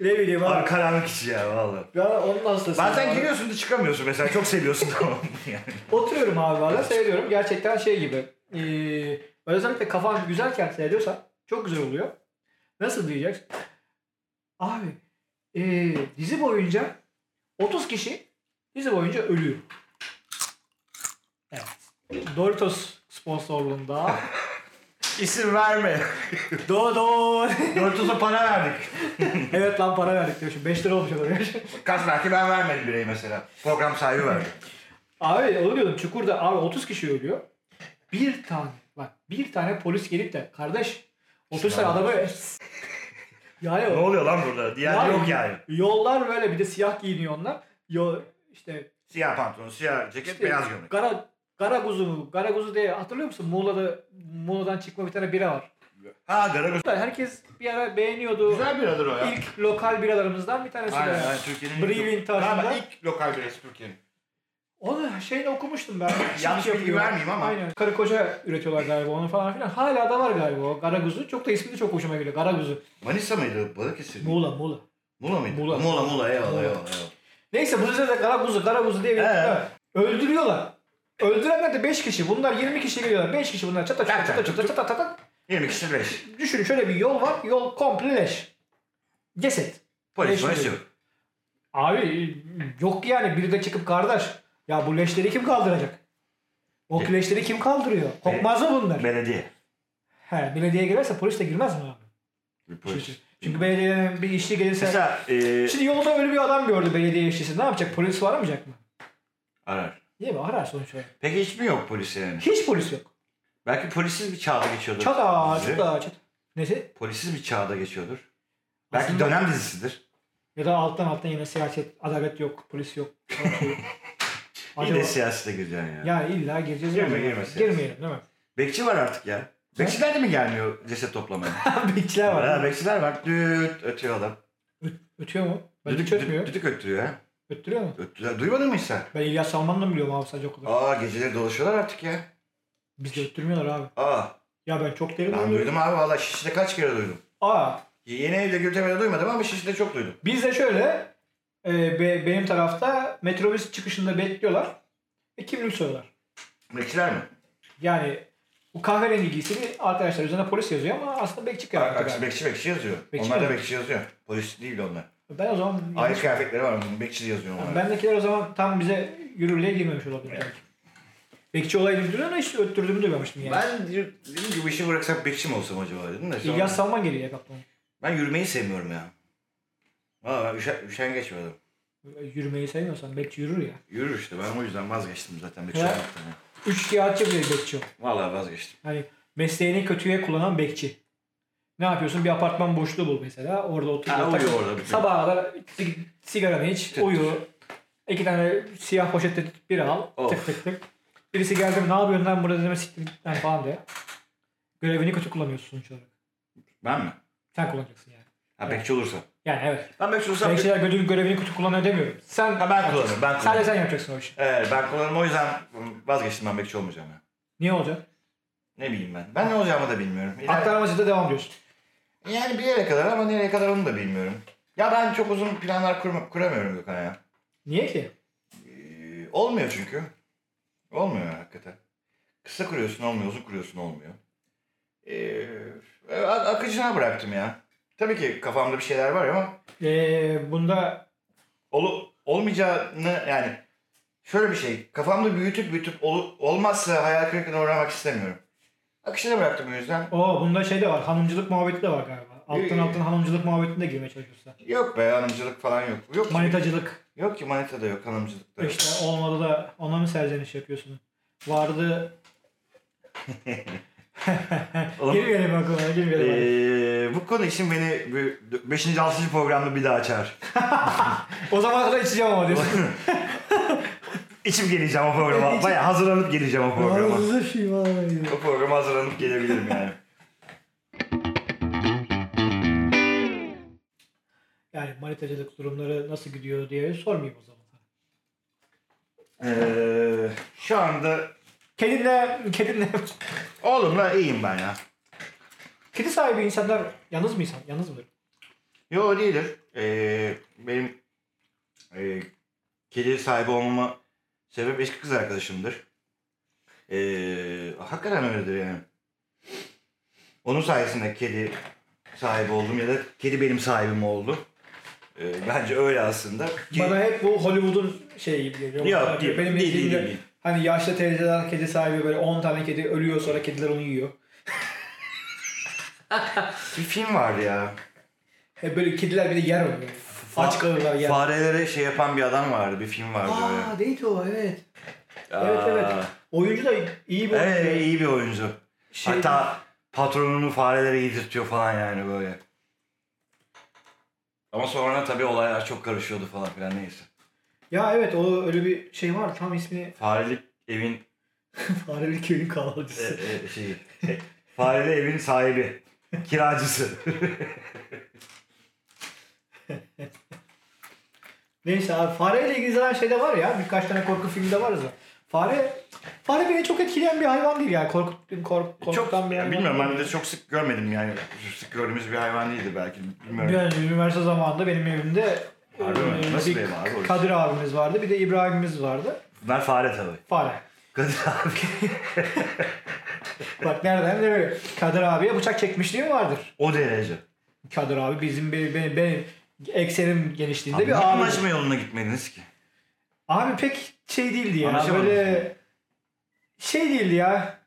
Speaker 1: ne bileyim abi.
Speaker 2: Abi karanlık içi ya valla.
Speaker 1: Ben onun hastasıyım.
Speaker 2: Bazen
Speaker 1: abi.
Speaker 2: giriyorsun da çıkamıyorsun mesela. Çok seviyorsun tamam mı yani.
Speaker 1: Oturuyorum abi valla seyrediyorum. Gerçekten şey gibi. Ee, böyle özellikle kafan güzelken seyrediyorsan çok güzel oluyor. Nasıl diyeceksin? Abi ee, dizi boyunca 30 kişi dizi boyunca ölüyor. Evet. Doritos sponsorluğunda.
Speaker 2: İsim verme.
Speaker 1: Dodo.
Speaker 2: Dörtüze para verdik.
Speaker 1: evet lan para verdik demişim. 5 lira olmuş adam.
Speaker 2: Kaç belki ben vermedim bireyi mesela. Program sahibi verdi.
Speaker 1: Abi onu diyordum Çukur'da abi 30 kişi ölüyor. Bir tane bak bir tane polis gelip de kardeş 30 tane adamı yani
Speaker 2: ne oluyor lan burada? Diğer yok yani.
Speaker 1: Yollar böyle bir de siyah giyiniyor onlar. Yo, işte,
Speaker 2: Siyah pantolon, siyah ceket,
Speaker 1: işte
Speaker 2: beyaz gömlek.
Speaker 1: Gara, Garaguzu mu? Garaguzu diye hatırlıyor musun? Muğla'da Muğla'dan çıkma bir tane bira var.
Speaker 2: Ha Garagöz.
Speaker 1: Herkes bir ara beğeniyordu.
Speaker 2: Güzel biradır o ya.
Speaker 1: İlk lokal biralarımızdan bir tanesi.
Speaker 2: Aynen,
Speaker 1: de.
Speaker 2: aynen Türkiye'nin
Speaker 1: Brewing
Speaker 2: Galiba
Speaker 1: tarzında.
Speaker 2: ilk lokal birası Türkiye'nin.
Speaker 1: Onu şeyini okumuştum ben.
Speaker 2: Yanlış
Speaker 1: Şey
Speaker 2: bilgi
Speaker 1: yapıyor.
Speaker 2: vermeyeyim ama.
Speaker 1: Aynen. Karı koca üretiyorlar galiba onu falan filan. Hala da var galiba o Garaguzu. Çok da ismi de çok hoşuma geliyor. Garaguzu.
Speaker 2: Manisa mıydı? Balıkesir miydi?
Speaker 1: Muğla Muğla.
Speaker 2: Mula mıydı?
Speaker 1: Mula.
Speaker 2: Mula, Mula, eyvallah,
Speaker 1: Mula.
Speaker 2: eyvallah. eyvallah.
Speaker 1: Neyse bu sırada Garaguzu Garaguzu diye bir
Speaker 2: He.
Speaker 1: var. Öldürüyorlar. Öldürenler de 5 kişi. Bunlar 20 kişi geliyorlar. 5 kişi bunlar çata çata
Speaker 2: Zaten
Speaker 1: çata çata çata çata.
Speaker 2: 20 kişi 5.
Speaker 1: Düşünün şöyle bir yol var. Yol komple leş. Ceset.
Speaker 2: Polis,
Speaker 1: Beş
Speaker 2: polis
Speaker 1: milyon.
Speaker 2: yok.
Speaker 1: Abi yok yani biri de çıkıp kardeş. Ya bu leşleri kim kaldıracak? O
Speaker 2: E-
Speaker 1: leşleri kim kaldırıyor? Kokmaz mı bunlar?
Speaker 2: Belediye.
Speaker 1: He, belediye girerse polis de girmez mi abi?
Speaker 2: Bir
Speaker 1: Çünkü, çünkü belediyenin bir işçi gelirse...
Speaker 2: Mesela e,
Speaker 1: Şimdi yolda ölü bir adam gördü belediye işçisi. Ne yapacak? Polis var aramayacak mı?
Speaker 2: arar.
Speaker 1: Değil mi? Arar sonuç olarak.
Speaker 2: Peki hiç mi yok polis yani?
Speaker 1: Hiç polis yok.
Speaker 2: Belki polisiz bir çağda geçiyordur.
Speaker 1: Çat ağa,
Speaker 2: dizi.
Speaker 1: çat ağa, çat. Neyse.
Speaker 2: Polisiz bir çağda geçiyordur. Belki
Speaker 1: Aslında-
Speaker 2: dönem dizisidir.
Speaker 1: Ya da alttan alttan yine siyaset, adalet yok, polis yok. Yok, yok.
Speaker 2: Yine
Speaker 1: Acaba...
Speaker 2: siyasete gireceksin yani.
Speaker 1: Ya illa gireceğiz.
Speaker 2: Girme,
Speaker 1: değil mi?
Speaker 2: girme siyaset.
Speaker 1: Girmeyelim değil mi?
Speaker 2: Bekçi var artık ya. Bekçiler de mi gelmiyor ceset toplamaya?
Speaker 1: Bekçiler var.
Speaker 2: ha, bekçiler var. Düt ötüyor adam.
Speaker 1: Ötüyor mu? Ben
Speaker 2: Düdük,
Speaker 1: hiç
Speaker 2: düdük,
Speaker 1: ötmüyor.
Speaker 2: düdük öttürüyor ha.
Speaker 1: Öttürüyor mu?
Speaker 2: Öttüler. Duymadın mı hiç sen?
Speaker 1: Ben İlyas Salman'dan biliyorum abi sadece o kadar.
Speaker 2: Aa geceleri dolaşıyorlar artık ya.
Speaker 1: Bizde öttürmüyorlar abi.
Speaker 2: Aa
Speaker 1: Ya ben çok derin
Speaker 2: ben
Speaker 1: duyuyorum.
Speaker 2: duydum abi valla Şişli'de kaç kere duydum.
Speaker 1: Aa
Speaker 2: Yeni evde Gültepe'de duymadım ama Şişli'de çok duydum.
Speaker 1: Biz de şöyle e, be- benim tarafta metrobüs çıkışında bekliyorlar. ve kimlik soruyorlar.
Speaker 2: Bekçiler mi?
Speaker 1: Yani bu kahverengi giysili arkadaşlar üzerine polis yazıyor ama aslında bekçi kıyafeti
Speaker 2: Aksi
Speaker 1: galiba.
Speaker 2: bekçi bekçi yazıyor.
Speaker 1: Bekçi
Speaker 2: onlar da
Speaker 1: mi?
Speaker 2: bekçi yazıyor. Polis değil onlar.
Speaker 1: Ben o zaman
Speaker 2: Ayrı kıyafetleri var. bunun, Bekçi yazıyor onlar.
Speaker 1: Yani bendekiler o zaman tam bize yürürlüğe girmemiş olabilir belki. Bekçi olayı duydun ama hiç öttürdüğümü duymamıştım yani.
Speaker 2: Ben diyor- dedim ki bu işi bıraksam bekçi mi olsam acaba dedim de. sonra-
Speaker 1: İlyas Salman geliyor ya kaptan.
Speaker 2: Ben yürümeyi sevmiyorum ya. Valla üşen, üşengeç bir adamım.
Speaker 1: Yürümeyi sevmiyorsan bekçi yürür ya.
Speaker 2: Yürür işte ben o yüzden vazgeçtim zaten bekçi
Speaker 1: Ya.
Speaker 2: olmaktan. ya.
Speaker 1: Üç kağıtçı bir bekçi o.
Speaker 2: Valla vazgeçtim.
Speaker 1: Hani mesleğini kötüye kullanan bekçi. Ne yapıyorsun? Bir apartman boşluğu bul mesela. Orada otur.
Speaker 2: Ha,
Speaker 1: yatak-
Speaker 2: uyuyor orada bir şey. de.
Speaker 1: Sabaha kadar sig- sigaranı iç, uyu. İki tane siyah poşette bir al.
Speaker 2: Of.
Speaker 1: Tık tık tık. Birisi geldi mi ne yapıyorsun lan burada deme siktir git lan falan diye. Görevini kötü kullanıyorsun sonuç olarak.
Speaker 2: Ben mi?
Speaker 1: Sen kullanacaksın yani.
Speaker 2: Ha bekçi olursa.
Speaker 1: Yani evet.
Speaker 2: Ben bekçi olursam...
Speaker 1: Bekçiler görev, görevini kötü kullanıyor demiyorum. Sen
Speaker 2: Ha, ben kullanırım. Ben
Speaker 1: Sadece
Speaker 2: kullanırım.
Speaker 1: sen yapacaksın o işi.
Speaker 2: Evet, ben kullanırım o yüzden vazgeçtim ben bekçi olmayacağım ya.
Speaker 1: Niye olacak?
Speaker 2: Ne bileyim ben. Ben ne olacağımı da bilmiyorum. İler-
Speaker 1: Aktarmacıda devam diyorsun.
Speaker 2: Yani bir yere kadar ama nereye kadar onu da bilmiyorum. Ya ben çok uzun planlar kurma, kuramıyorum Gökhan ya.
Speaker 1: Niye ki?
Speaker 2: Ee, olmuyor çünkü. Olmuyor hakikaten. Kısa kuruyorsun olmuyor, uzun kuruyorsun olmuyor. Ee, a- akıcına bıraktım ya. Tabii ki kafamda bir şeyler var ama
Speaker 1: Ee, bunda
Speaker 2: olu, olmayacağını yani şöyle bir şey kafamda büyütüp büyütüp olu- olmazsa hayal kırıklığına uğramak istemiyorum. Akışına bıraktım o yüzden.
Speaker 1: o bunda şey de var. Hanımcılık muhabbeti de var galiba. Alttan
Speaker 2: Ee.
Speaker 1: alttan hanımcılık muhabbetine girmeye çalışıyorsun.
Speaker 2: Yok be hanımcılık falan yok. Yok ki,
Speaker 1: Manitacılık.
Speaker 2: yok ki manita da yok hanımcılık da yok.
Speaker 1: İşte olmadı da ona mı serzeniş yapıyorsun? Vardı.
Speaker 2: Oğlum-
Speaker 1: girmeyelim aklıma girmeyelim.
Speaker 2: Ee, bu konu için beni 5. 6. programda bir daha açar.
Speaker 1: O zaman kadar içeceğim ama diyorsun.
Speaker 2: İçim geleceğim o
Speaker 1: Evet,
Speaker 2: programa.
Speaker 1: içim-
Speaker 2: Baya hazırlanıp geleceğim o programa.
Speaker 1: Ağzı şey var.
Speaker 2: o programa hazırlanıp gelebilirim yani.
Speaker 1: Yani manitacılık durumları nasıl gidiyor diye sormayayım o zaman.
Speaker 2: Ee, şu anda
Speaker 1: Kedinle, kedinle.
Speaker 2: oğlumla iyiyim ben ya.
Speaker 1: Kedi sahibi insanlar yalnız mı insan? Yalnız mıdır?
Speaker 2: Yo değildir. Ee, benim e, kedi sahibi olmama sebep eski kız arkadaşımdır. Ee, hakikaten öyledir yani. Onun sayesinde kedi sahibi oldum ya da kedi benim sahibim oldu. Ee, bence öyle aslında. Ki-
Speaker 1: Bana hep bu Hollywood'un şey gibi geliyor.
Speaker 2: Yok, değil,
Speaker 1: benim
Speaker 2: değil, değil,
Speaker 1: izlediğimde
Speaker 2: değil.
Speaker 1: Hani yaşlı teyzeler kedi sahibi böyle 10 tane kedi ölüyor sonra kediler onu yiyor.
Speaker 2: Bir film vardı ya.
Speaker 1: Hep böyle kediler bir de yer oluyor. Aç kalırlar yer.
Speaker 2: Farelere şey yapan bir adam vardı. Bir film vardı öyle.
Speaker 1: Aa değil o evet. Evet evet.
Speaker 2: Aa.
Speaker 1: Oyuncu da iyi bir oyuncu.
Speaker 2: Evet, iyi bir oyuncu.
Speaker 1: Şey-
Speaker 2: Hatta patronunu farelere yedirtiyor falan yani böyle. Ama sonra tabii olaylar çok karışıyordu falan filan neyse.
Speaker 1: Ya evet o öyle bir şey var tam ismini
Speaker 2: Farelik evin
Speaker 1: Fareli Köy'ün
Speaker 2: e,
Speaker 1: kahvaltısı.
Speaker 2: e, şeyi. e, fareli evin sahibi. Kiracısı.
Speaker 1: Neyse abi fareyle ilgili zaten şey de var ya birkaç tane korku filmi de var zaten. Fare Fare beni çok etkileyen bir hayvan değil ya. Korkuttum, kork,
Speaker 2: çok,
Speaker 1: korkutan bir hayvan.
Speaker 2: yani bilmiyorum
Speaker 1: değil.
Speaker 2: ben de çok sık görmedim yani. Sık gördüğümüz bir hayvan değildi belki. Bilmiyorum.
Speaker 1: Yani üniversite zamanında benim evimde
Speaker 2: Harbi mi?
Speaker 1: e,
Speaker 2: Nasıl
Speaker 1: bir
Speaker 2: bir ev abi orası?
Speaker 1: Kadir abimiz vardı bir de İbrahim'imiz vardı.
Speaker 2: Bunlar fare tabii.
Speaker 1: Fare.
Speaker 2: Kadir abi.
Speaker 1: Bak nereden nereye? Kadir abiye bıçak çekmişliğim vardır.
Speaker 2: O derece.
Speaker 1: Kadir abi bizim benim, benim, benim eksenim genişliğinde
Speaker 2: Abi,
Speaker 1: bir
Speaker 2: bir
Speaker 1: abi.
Speaker 2: anlaşma yoluna gitmediniz ki.
Speaker 1: Abi pek şey değildi ya.
Speaker 2: Anlaşamadım.
Speaker 1: Böyle şey değildi ya.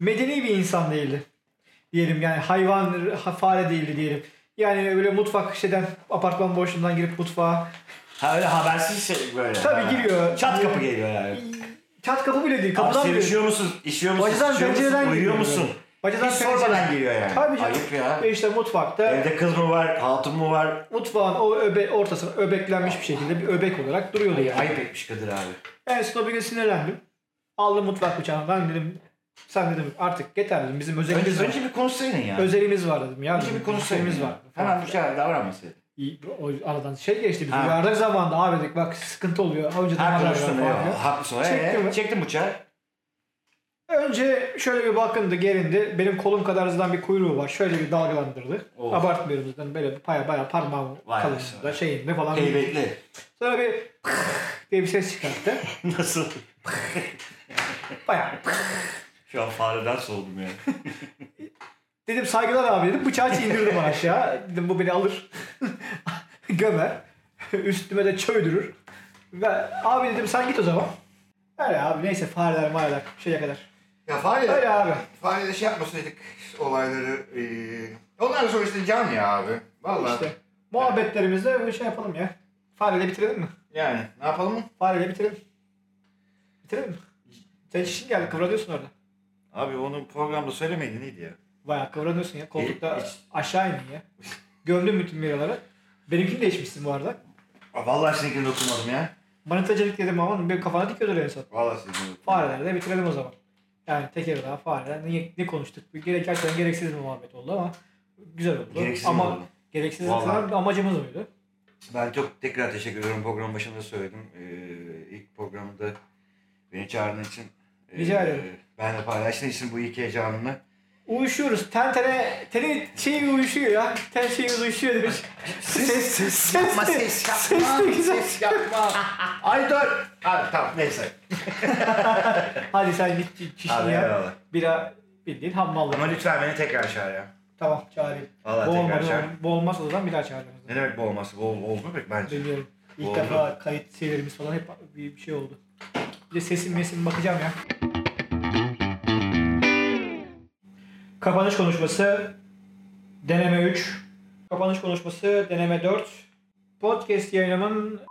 Speaker 1: Medeni bir insan değildi. Diyelim yani hayvan ha- fare değildi diyelim. Yani böyle mutfak şeyden apartman boşluğundan girip mutfağa
Speaker 2: Ha öyle habersiz şey böyle.
Speaker 1: Tabii
Speaker 2: Ha.
Speaker 1: giriyor.
Speaker 2: Çat kapı geliyor yani.
Speaker 1: çat kapı bile değil.
Speaker 2: Abi
Speaker 1: Kapıdan bile.
Speaker 2: sevişiyor musun? İşiyor musun?
Speaker 1: Bacadan
Speaker 2: sıçıyor musun,
Speaker 1: pencereden
Speaker 2: Uyuyor
Speaker 1: giriyor
Speaker 2: musun?
Speaker 1: böyle. Bacadan
Speaker 2: Hiç
Speaker 1: pencereden-
Speaker 2: sormadan giriyor yani.
Speaker 1: Tabii canım.
Speaker 2: Ayıp ya.
Speaker 1: E işte mutfakta
Speaker 2: Evde kız mı var? Hatun mu var?
Speaker 1: mutfağın o öbe, ortasına öbeklenmiş bir şekilde bir öbek olarak duruyordu yani.
Speaker 2: Ayıp etmiş Kadir abi.
Speaker 1: En son bir gün sinirlendim. Aldım mutfak bıçağını. Ben dedim sen dedim artık yeter dedim. Bizim özelimiz
Speaker 2: Önce,
Speaker 1: var.
Speaker 2: önce bir konuşsaydın ya.
Speaker 1: özelimiz var dedim. Ya
Speaker 2: önce
Speaker 1: dedim,
Speaker 2: bir konuşsaydın.
Speaker 1: özelimiz
Speaker 2: ya.
Speaker 1: var.
Speaker 2: Hemen bu şeyler davranmasaydın.
Speaker 1: İyi, O aradan şey geçti. Biz
Speaker 2: Ha.
Speaker 1: uyardık zamanında abi dedik bak sıkıntı oluyor. Önceden
Speaker 2: Ha
Speaker 1: haber ver
Speaker 2: konuştun.
Speaker 1: falan
Speaker 2: eyvallah.
Speaker 1: diyor.
Speaker 2: Haklısın.
Speaker 1: Çekti
Speaker 2: Ee,
Speaker 1: mi?
Speaker 2: çektim bıçağı.
Speaker 1: Önce şöyle bir bakındı gerindi. Benim kolum kadar hızdan bir kuyruğu var. Şöyle bir dalgalandırdı.
Speaker 2: Of.
Speaker 1: Abartmıyorum zaten böyle baya baya parmağım
Speaker 2: Vay
Speaker 1: kalınlığında
Speaker 2: be.
Speaker 1: şeyinde falan.
Speaker 2: Heybetli.
Speaker 1: Sonra bir diye bir ses çıkarttı.
Speaker 2: Nasıl?
Speaker 1: Bayağı.
Speaker 2: Şu an fareden soğudum yani.
Speaker 1: Dedim saygılar abi dedim. Bıçağı indirdim aşağı. Dedim bu beni alır. Gömer. Üstüme de çöldürür. Ve abi dedim sen git o zaman. Öyle abi neyse fareler mareler şeye kadar.
Speaker 3: Ya fare,
Speaker 1: Öyle abi.
Speaker 3: fare de şey yapmasaydık olayları. E,
Speaker 2: ee,
Speaker 3: onlar da sonuçta can ya abi. Vallahi.
Speaker 1: İşte muhabbetlerimizde böyle şey yapalım ya. Fareyle bitirelim mi?
Speaker 3: Yani ne yapalım mı?
Speaker 1: Fareyle bitirelim. Bitirelim mi? Sen işin geldi kıvranıyorsun orada.
Speaker 2: Abi onu programda söylemeydin iyiydi ya.
Speaker 1: Bayağı kıvranıyorsun ya. Koltukta
Speaker 2: E, Hiç- hiç.
Speaker 1: aşağı indin ya. Gömdün bütün miraları. Benimkini değişmişsin bu arada.
Speaker 2: Aa, Vallahi seninkini dokunmadım ya.
Speaker 1: Manitacılık dedim ama benim kafana dikiyordur en son.
Speaker 3: Vallahi sizin.
Speaker 1: Fareleri de bitirelim o zaman. Yani teker daha fareler ne, ne konuştuk? Bir gerek gerçekten gereksiz bir muhabbet oldu ama güzel oldu.
Speaker 2: Gereksiz
Speaker 1: ama
Speaker 2: mi oldu?
Speaker 1: gereksiz
Speaker 2: Vallahi.
Speaker 1: zaten amacımız oydu.
Speaker 2: Ben çok tekrar teşekkür ediyorum. Program başında söyledim. Ee, ilk programda beni çağırdığın için. ee,
Speaker 1: Rica ederim.
Speaker 2: Ben de paylaştığın için bu ilk heyecanını.
Speaker 1: Uyuşuyoruz. Ten tene, tenin şeyi uyuşuyor ya. Ten şeyi uyuşuyor demiş. ses, ses,
Speaker 3: Yapma
Speaker 1: de-
Speaker 3: ses yapma.
Speaker 1: Ses de güzel.
Speaker 3: Ses yapma. Ay dur. Ha tamam neyse.
Speaker 1: Hadi sen git çi- çişini
Speaker 2: Abi,
Speaker 1: yap.
Speaker 2: eyvallah.
Speaker 1: Bira bildiğin hammallı.
Speaker 2: Ama lütfen beni tekrar çağır ya.
Speaker 1: Tamam çağırayım.
Speaker 2: Vallahi
Speaker 1: Bu
Speaker 2: tekrar
Speaker 1: olmadı.
Speaker 2: çağır.
Speaker 1: Bu olmaz o zaman bir daha çağırırız.
Speaker 2: Ne demek bu olması? Bu ol- oldu mu pek bence?
Speaker 1: Bilmiyorum. İlk
Speaker 2: Oldu.
Speaker 1: defa kayıt şeylerimiz falan hep bir bir şey oldu. Bir de sesim mesim bakacağım ya. Kapanış konuşması deneme 3. Kapanış konuşması deneme 4. Podcast yayınımın